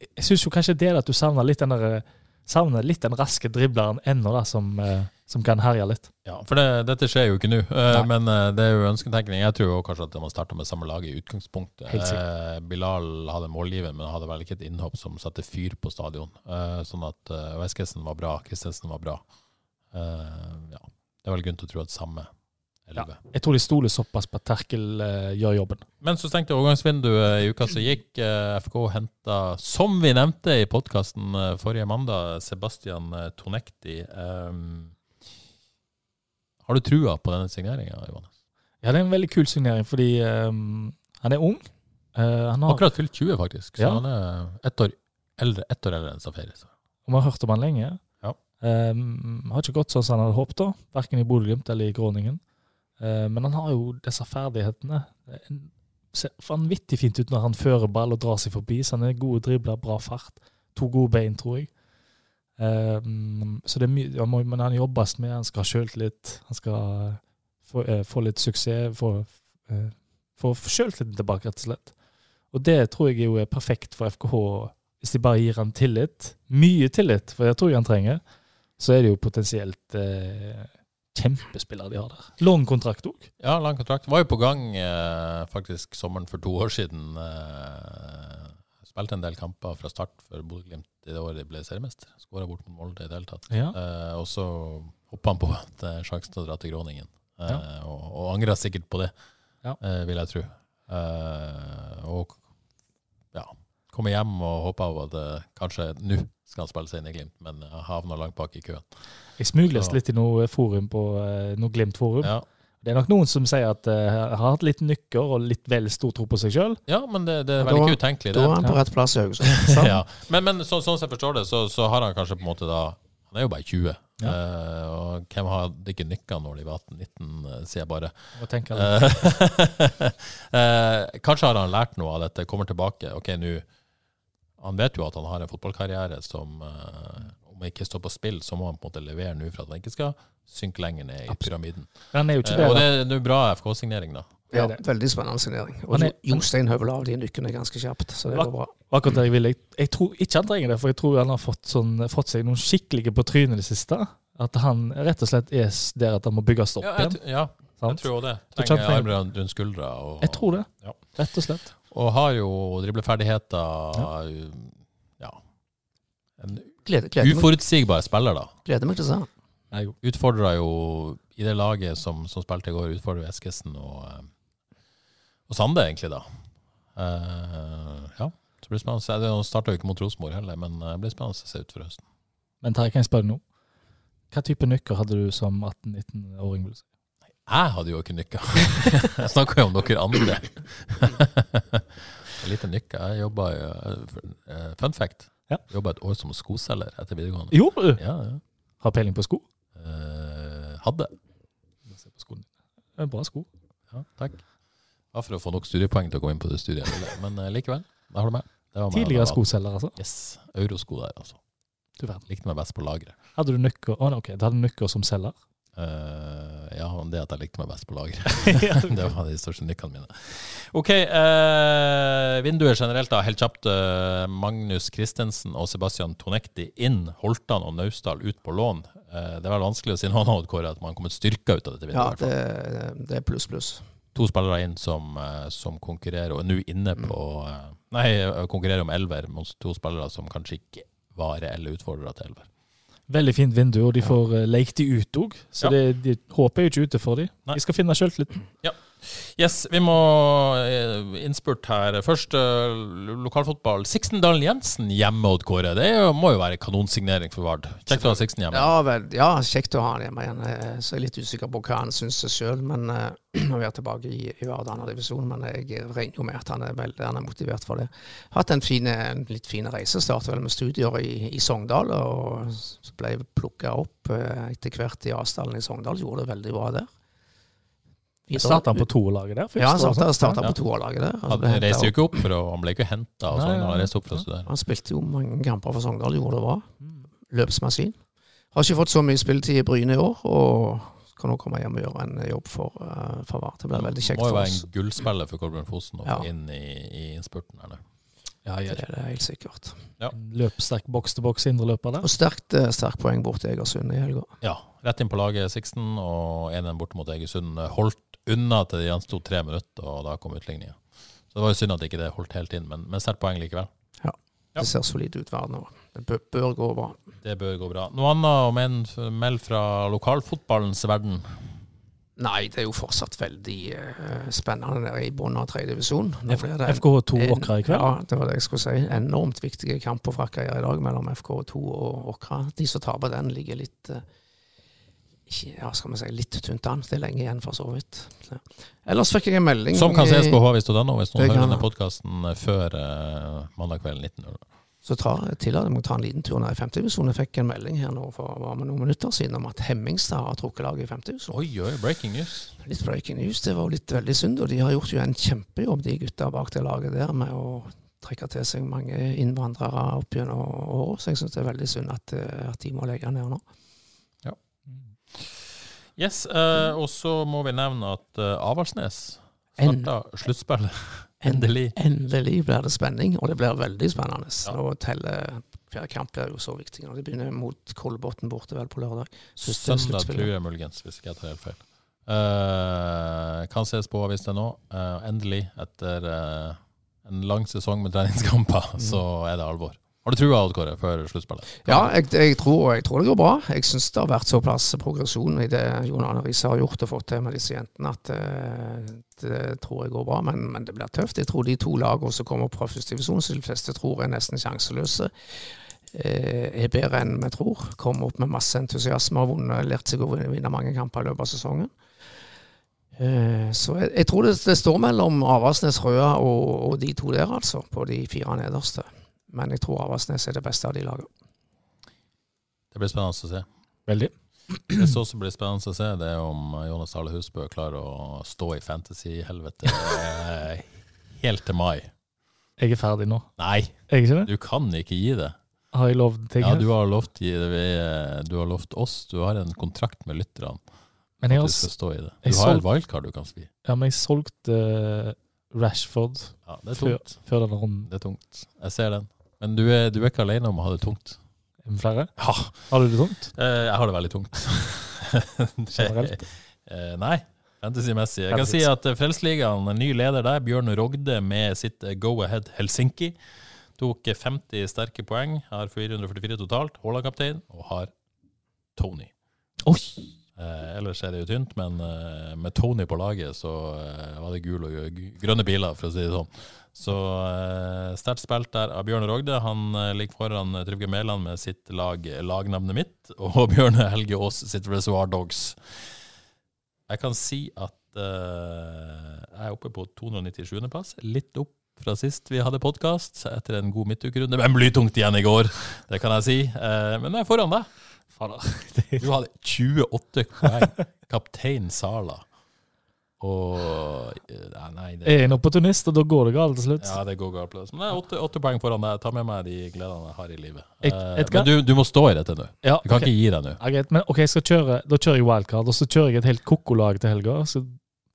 jeg syns jo kanskje det er at du savner litt den der, eh, savner litt den raske dribleren ennå, da, som, eh, som kan herje litt.
Ja, for det, dette skjer jo ikke nå, eh,
Nei.
men eh, det er jo ønsketenkning. Jeg tror jo kanskje at man starter med samme lag i utgangspunktet.
Helt
Eh, Bilal hadde målgiver, men hadde vel ikke et innhopp som satte fyr på stadion. Eh, Sånn at eh, og Eskesen var bra, Christensen var bra. Eh, Ja, det er vel grunn til å tro at samme elleve.
Jeg tror de stoler såpass på at Terkel eh, gjør jobben.
Men så stengte overgangsvinduet i uka som gikk. Eh, FK henta, som vi nevnte i podkasten forrige mandag, Sebastian eh, Tonekti. Eh, Har du trua på denne signeringa, Johannes?
Ja, det er en veldig kul signering, fordi eh, han er ung. Eh, han har,
Akkurat fylt 20, faktisk. Så
Ja.
han er ett år eldre, ett år eldre enn Safari. Så.
og vi har hørt om han lenge.
Ja.
Eh, har ikke gått sånn som han hadde håpet, da. Verken i Bodø-Glimt eller i Groningen. Eh, men han har jo disse ferdighetene. Det er en- Ser vanvittig fint ut når han fører ball og drar seg forbi. Så han er gode dribler, bra fart. To gode bein, tror jeg. Eh, så det er mye han må- Men han jobbes med, han skal ha sjøltillit. Han skal få, eh, få litt suksess. Få, eh, få sjøltilliten tilbake, rett og slett. Og det tror jeg jo er perfekt for FKH hvis de bare gir han tillit, mye tillit, for jeg tror jeg han trenger, så er det jo potensielt eh, kjempespillere de har der. Lang kontrakt òg.
Ja, lang kontrakt. Var jo på gang eh, faktisk sommeren for to år siden. Eh, spilte en del kamper fra start for Bodø-Glimt i det året de ble seriemester. Skåra bort mot Molde i det hele tatt.
Ja.
Eh, og så hoppa han på at eh, sjansen til å dra til Groningen, eh, og, og angra sikkert på det,
Ja.
eh, vil jeg tro. Eh, og ja, komme hjem og håpe av at eh, kanskje nå skal han spille seg inn i Glimt, men eh, havna langt bak i køen.
Jeg smugles
Ja.
litt i noe forum på eh, noe Glimt-forum.
Ja,
Det er nok noen som sier at eh, jeg har hatt litt nykker og litt vel stor tro på seg sjøl.
ja men det, det er
Da-
vel ikke utenkelig,
Da
det.
er han på rett plass i Haugesund. sant?
ja. Men, men så, sånn som jeg forstår det, så, så har han kanskje på en måte da Han er jo bare 20.
Ja.
Eh, og hvem hadde ikke nykka når de var 18-19, eh, sier jeg bare.
Ja.
Eh, eh, kanskje har han lært noe av dette, kommer tilbake. Ok, nå Han vet jo at han har en fotballkarriere som eh, om ikke står på spill, så må han på en måte levere nå for at han ikke skal synke lenger ned i pyramiden.
Han er jo ikke
Eh,
det.
og
da.
det er nå bra FK-signering, da.
Ja,
Det er
veldig spennende signering. Og
Han er-
Jo- Jostein høvel av de nykkene ganske kjapt, så det
Hva-
går bra.
Og akkurat der jeg ville. Jeg, jeg tror ikke han trenger det, for jeg tror han har fått, sånn, fått seg noen skikkelige på trynet i det siste. At han rett og slett er s- der at han må bygges opp
Ja, jeg,
igjen.
tr- ja, jeg
sant?
tror også det.
Så
Trenger
kjent-
armene rundt skuldra. Og,
Jeg tror det,
Ja.
rett og slett.
Og har jo dribleferdigheter ja. En
Gleder, gleder, meg,
uforutsigbar spiller, da.
gleder meg til å se han.
Jeg utfordra jo i det laget som, som spilte i går, utfordra Eskesen og, eh, og Sande, egentlig, da. Eh, ja. Så blir det spennende. å se. Det starta jo ikke mot Rosenborg heller, men eh, det blir spennende å se ut for høsten.
Men Terje, kan jeg spørre deg nå? Hva type nøkker hadde du som 18-19-åring? vil du si?
Jeg hadde jo ikke nykka. Jeg snakker jo om dere andre. Lite nykka. Jeg jobba Fun fact.
Ja.
Jobba et år som skoselger etter videregående.
Gjorde du?
Ja, ja.
Har peiling på sko?
Eh, hadde.
Se på skoene. Det er Eh, Bra sko.
Ja, takk. Bare for å få nok studiepoeng til å komme inn på det studiet. jeg ville. Men eh, likevel, der har du meg. Det var meg da jeg
Tidligere
var-
skoselger, altså.
Yes. Eurosko der, altså.
Du verden.
Likte meg best på lageret.
Hadde du nøkker, Å, nei, ok, du hadde nøkker som selger?
Eh, ja, men det at jeg likte meg best på lageret.
ja,
det var de største nykkene mine. OK. eh, vinduet generelt, da. Helt kjapt. eh, Magnus Christensen og Sebastian Tonekti inn. Holtan og Naustdal ut på lån. Eh, det er vel vanskelig å si noe annet, Kåre, at man har kommet styrka ut av dette vinduet. i
Ja,
hvert fall.
det, det er pluss, pluss.
to spillere inn som, eh, som konkurrerer, og er nå inne
Mm.
på eh, Nei, eh, konkurrerer om elver mot to spillere som kanskje ikke var reelle utfordrere til elver.
Veldig fint vindu, og de får eh, lekt de ut òg. Så
Ja.
det, de håper jo ikke ute for de.
Nei.
De skal finne sjøltilliten.
Yes, vi må eh, innspurt her. Først eh, lo- lokalfotball. Siksendal Jensen hjemme, Odd Kåre. Det er jo, må jo være kanonsignering for Vard. Kjekt å ha Siksen hjemme.
Ja, vel, ja, kjekt å ha han hjemme igjen. Eh, Så jeg er litt usikker på hva han syns sjøl. Men eh, vi er tilbake i, i Vardø-divisjonen, men jeg regner jo med at han er veldig han er motivert for det. Hatt en, fin, en litt fin reise. Startet vel med studier i, i Sogndal, og så ble jeg plukka opp eh, etter hvert i Asdalen i Sogndal. Gjorde det veldig bra der.
Starter han på to-laget der? sånn.
Ja, han starta, starta
Ja.
på toerlaget der. og så
Han
ble hentet
reiste jo
opp.
ikke opp, for å- han ble ikke henta.
Nei,
Sånn,
nei,
han
nei.
reiste opp for å studere.
Han spilte jo mange kamper for Sogndal, gjorde det bra.
Mm.
Løpsmaskin. Har ikke fått så mye spilletid i Bryne i år, og kan nå komme hjem og gjøre en jobb for, eh, for VAR. Det blir veldig kjekt
Mm, Må jo
for
være
oss.
en gullspiller for Kolbjørn Fosen å få
Ja.
inn i, i innspurten her nå.
Ja,
Det
ja.
er det helt sikkert.
Løpsterk boks-til-boks indreløper der.
Og sterkt eh, sterkt poeng bort til Egersund i helga.
Ja, rett inn på laget Sixten, og 1-1 borte mot Egersund. Holdt unna til det gjensto tre minutter, og da kom utligninga. Så det var jo synd at ikke det holdt helt inn, men, men sterkt poeng likevel. Ja.
Det ser solid ut verden over. Det bør, bør gå bra.
Det bør gå bra. Noe annet om en meld fra lokalfotballens verden?
Nei, det er jo fortsatt veldig eh, spennende nede i bunnen av tredje divisjon. Nå blir det en-
FKH2
en-
Åkra i kveld.
Ja, det var det jeg skulle si. Enormt viktige kamper for Akkaia i dag mellom FK2 og Åkra. De som taper den, ligger litt eh, ikke- ja, skal vi si, litt tynt an. Det er lenge igjen, for så vidt. Så. Ellers fikk jeg en melding
Som kan ses
i-
på hv.no hvis noen
Det
hører
kan-
denne podkasten før eh, mandag kveld 19.00.
Så tar jeg tillater jeg meg å ta en liten tur ned i femtedivisjonen. Jeg fikk en melding her nå for var med noen minutter siden om at Hemmingstad har trukket laget i femtedivisjonen.
Oi, oi, breaking news.
Litt breaking news. Det var jo litt veldig synd, og de har gjort jo en kjempejobb, de gutta bak det laget der, med å trekke til seg mange innvandrere opp gjennom året. Så jeg syns det er veldig synd at, eh, at de må legge ned nå.
Yes, eh, og så må vi nevne at eh, Avaldsnes
En-
starta sluttspillet. Endelig.
Endelig blir det spenning, og det blir veldig spennende.
Ja.
Nå teller hver kamp blir jo så viktig når de begynner mot Kolbotn borte vel på lørdag. Synes det er
Søndag
sluttspillet.
tror jeg muligens, hvis ikke jeg tar helt feil. Eh, kan ses på hvis det er nå. Eh, endelig, etter eh, en lang sesong med
Mm.
treningskamper, så er det alvor. Har du trua, Odd Kåre, før sluttspillet?
Ja, jeg, jeg, tror, jeg tror det går bra. Jeg syns det har vært såpass progresjon i det Jon Arne Riise har gjort og fått til med disse jentene, at eh, det tror jeg går bra. Men, men det blir tøft. Jeg tror de to lagene som kommer opp fra første divisjon, som de fleste tror er nesten sjanseløse, eh, er bedre enn vi tror. Kommer opp med masse entusiasme, har vunnet, lært seg å vinne mange kamper i løpet av sesongen. Eh, Så jeg, jeg tror det, det står mellom Avaldsnes Røa og, og de to der, altså. På de fire nederste. Men jeg tror Avaldsnes er det beste av de lagene.
Det blir spennende å se.
Veldig.
Det som også blir spennende å se, det er om Jonas Dale Husbø klarer å stå i fantasy-helvete eh, helt til mai.
Jeg er ferdig nå.
Nei,
Er jeg ikke det?
du kan ikke gi det.
Har jeg lovd ting?
Ja,
her?
du har lovt, gi det vi- du har lovt oss, du har en kontrakt med lytterne.
men jeg,
Du
har,
skal
s-
stå i det.
jeg
Du har et
solg-
wildcard du kan svi.
ja, men jeg solgte eh, Rashford
Ja, det er
før,
tungt.
før denne runden.
Det er tungt. Jeg ser den. Men du er, du er ikke alene om å ha det tungt.
Er det Flere?
Ja.
Har du det tungt?
Jeg har det veldig tungt.
Generelt?
Eh, Nei. Fantasy-messig. Jeg kan
Fantasy.
si at eh, Frelsesligaen, en ny leder der, Bjørn Rogde med sitt eh, Go Ahead Helsinki, tok eh, 50 sterke poeng, har 444 totalt, Haaland kaptein, og har Tony.
Oi!
Eh, ellers er det jo tynt, men eh, med Tony på laget så eh, var det gul og gr- grønne biler, for å si det sånn. Så eh, sterkt spilt der av Bjørn Rogde. Han eh, ligger foran eh, Trygve Mæland med sitt lag, lagnavnet mitt, og Bjørne Helge Aas sitt Reservoir Dogs. Jeg kan si at eh, jeg er oppe på 297. plass, litt opp fra sist vi hadde podkast, etter en god midtukerunde. Men blytungt igjen i går, det kan jeg si. Eh, men jeg er foran deg.
Fader.
Du hadde 28 poeng. Kaptein Sala. Og eh, Nei, det,
Jeg er en opportunist, og da går det galt til slutt.
ja, det går galt. plass. Men det er åtte, åtte poeng foran deg. Ta med meg de gledene jeg har i livet.
Et-
Eh,
et hva?
men du, du må stå i dette nå.
Ja,
Du kan
ok.
ikke gi deg nå.
Ja, greit, men ok, jeg skal kjøre, Da kjører jeg wildcard, og så kjører jeg et helt koko-lag til helga. Så,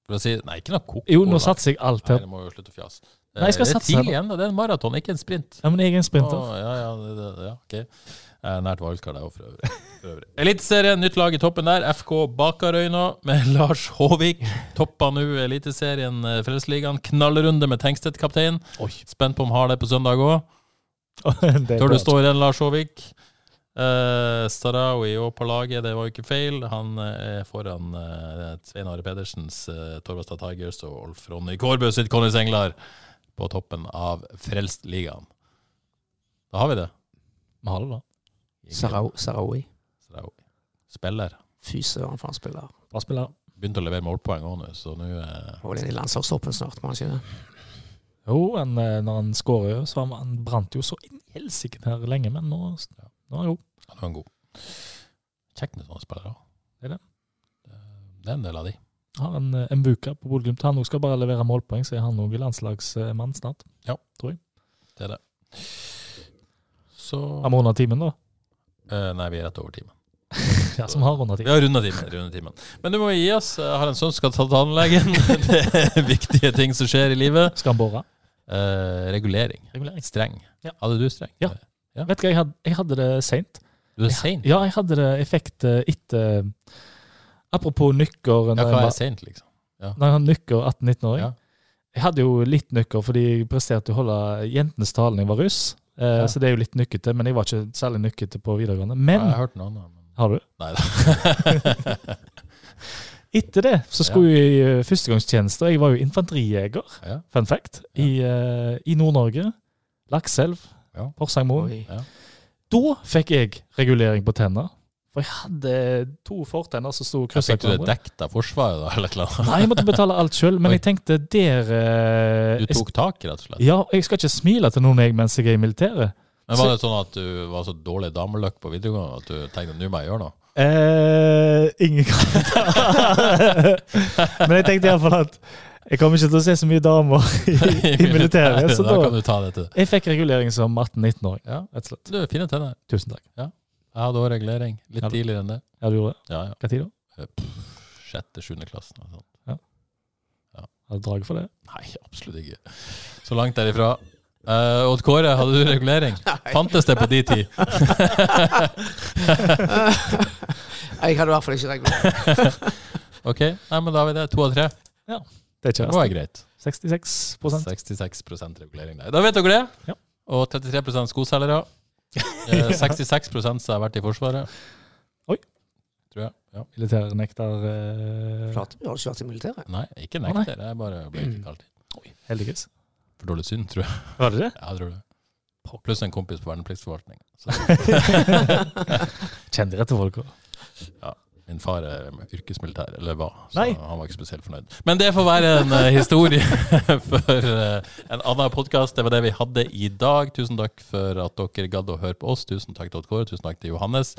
For å si, nei, ikke noe koko.
jo, nå satser jeg alt
Nei,
her.
du må jo slutte å fjase.
Nei, jeg
Eh,
skal
det er
satse her
tidlig igjen, det er en maraton, ikke en sprint.
Ja, men jeg er en sprinter.
Å, ja, ja, det, det, ja, ok. Jeg er nært valgkart, jeg òg, for øvrig. For øvrig. Eliteserien, nytt lag i toppen der. FK Bakarøyna med Lars Håvik. Toppa nå Eliteserien eh, Frelsesligaen. Knallrunde med Tengstedt-kaptein. Spent på om har det på søndag òg.
Det er
Tør
bra.
du stå i den, Lars Håvik? Uh, Starawi òg på laget, det var jo ikke feil. Han eh, er foran eh, Svein Are Pedersens uh, Torvastad Tigers og Olf Ronny Kårbø sitt Connys Englar på toppen av Frelstligaen. Da har vi det.
Vi har det, da.
Sarau- Sarawi.
Sarawi. Spiller.
Fy søren, for han spiller.
Bra spiller.
Begynte å levere målpoeng òg nå, så nå eh,
Og den i landslagstroppen snart, må han ikke det?
Jo, han, eh, når han skårer, så han, han brant jo så inn i helsike her lenge, men nå, ja, nå er han god.
han er han god. Kjekt med sånne spillere òg.
Det er det.
Det er en del av de.
Har en, eh, en buka på Bodø-Glimt. Han også skal bare levere målpoeng, så er han òg landslagsmann snart.
Det er det. Så
Han må runde timen, da.
eh, Nei, vi er rett over timen.
Ja, som har rundet
Vi
timen.
har runda timen. Runde timen. Men du må gi oss. Jeg har en sønn som skal ta tannlegen. Det er viktige ting som skjer i livet.
Skal han bore?
Eh, regulering.
Regulering.
Streng.
Ja.
Hadde du streng?
Ja.
Ja.
Vet du hva, jeg hadde, jeg hadde det seint.
Du er sein.
Ja, jeg hadde det effekt eh, etter Apropos nykker
Ja,
når
hva
jeg
er
var-
seint, liksom?
Når jeg hadde nykker 18-19-åring.
Ja.
Jeg hadde jo litt nykker fordi jeg presterte å holde jentenes tale da jeg var russ. Eh,
Ja.
Så det er jo litt nykkete, men jeg var ikke særlig nykkete på videregående.
Jeg
Men
har hørt noe annet. Men...
har du?
Nei da.
etter det så skulle jeg i eh, førstegangstjeneste. og Jeg var jo infanterijeger,
Ja.
fun fact, i, eh, i Nord-Norge. Lakselv,
Ja.
Porsangmoen.
Oi.
Da fikk jeg regulering på tenner. For jeg hadde to fortenner som sto kryssa
Fikk du det dekt av Forsvaret, da? Eller et eller annet?
Nei, jeg måtte betale alt sjøl, men
Oi.
jeg tenkte der eh,
Du
jeg
tok tak, rett og slett?
Ja, jeg skal ikke smile til noen jeg mens jeg er i militæret.
Men Var det sånn at du var så dårlig dameløkk på videregående at du tenkte nå må jeg gjøre noe?
Eh, ingen kommentar. Men jeg tenkte iallfall at jeg kommer ikke til å se så mye damer i, i militæret. Så
da kan
da
du ta det til det.
Jeg fikk regulering som 18-19-åring,
Ja.
rett og slett.
Du er fine tenner.
Tusen takk.
Jeg hadde òg regulering. Litt
Ja.
tidligere enn det.
Ja, du gjorde det?
Ja, ja.
Hva tid da?
Sjette-sjuende klassen. og sånn.
Hadde du draget for det?
Nei, absolutt ikke. Så langt derifra. Uh, Odd Kåre, hadde du regulering? Fantes det på de tid?
Jeg hadde i hvert fall ikke regulert.
Ok, Nei, men da har vi det. To av tre.
Det er
Det
ikke
var
verst.
greit.
66
66 regulering der. Da vet dere det.
Ja.
Og 33 skoselgere. Eh, 66 som har vært i Forsvaret.
Oi.
Tror jeg. Ja.
Militærnekter eh,
Klart, du har ikke vært i militæret.
Nei, ikke
Å, nei.
nekter. Jeg bare ble ikke kalt inn.
Heldigvis.
For dårlig syn, tror jeg.
Var det det?
Ja, jeg tror det. Pluss en kompis på vernepliktsforvaltning. Så
Kjenn de rette folka.
Min far er yrkesmilitær, eller hva, så
Nei.
han var ikke spesielt fornøyd. Men det får være en eh, historie for eh, en annen podkast. Det var det vi hadde i dag. Tusen takk for at dere gadd å høre på oss. Tusen takk til Odd Kåre, tusen takk til Johannes.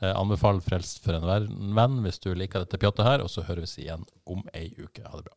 Eh, anbefal Frelst for en ver- venn hvis du liker dette pjattet her, og så høres vi igjen om ei uke. Ha det bra.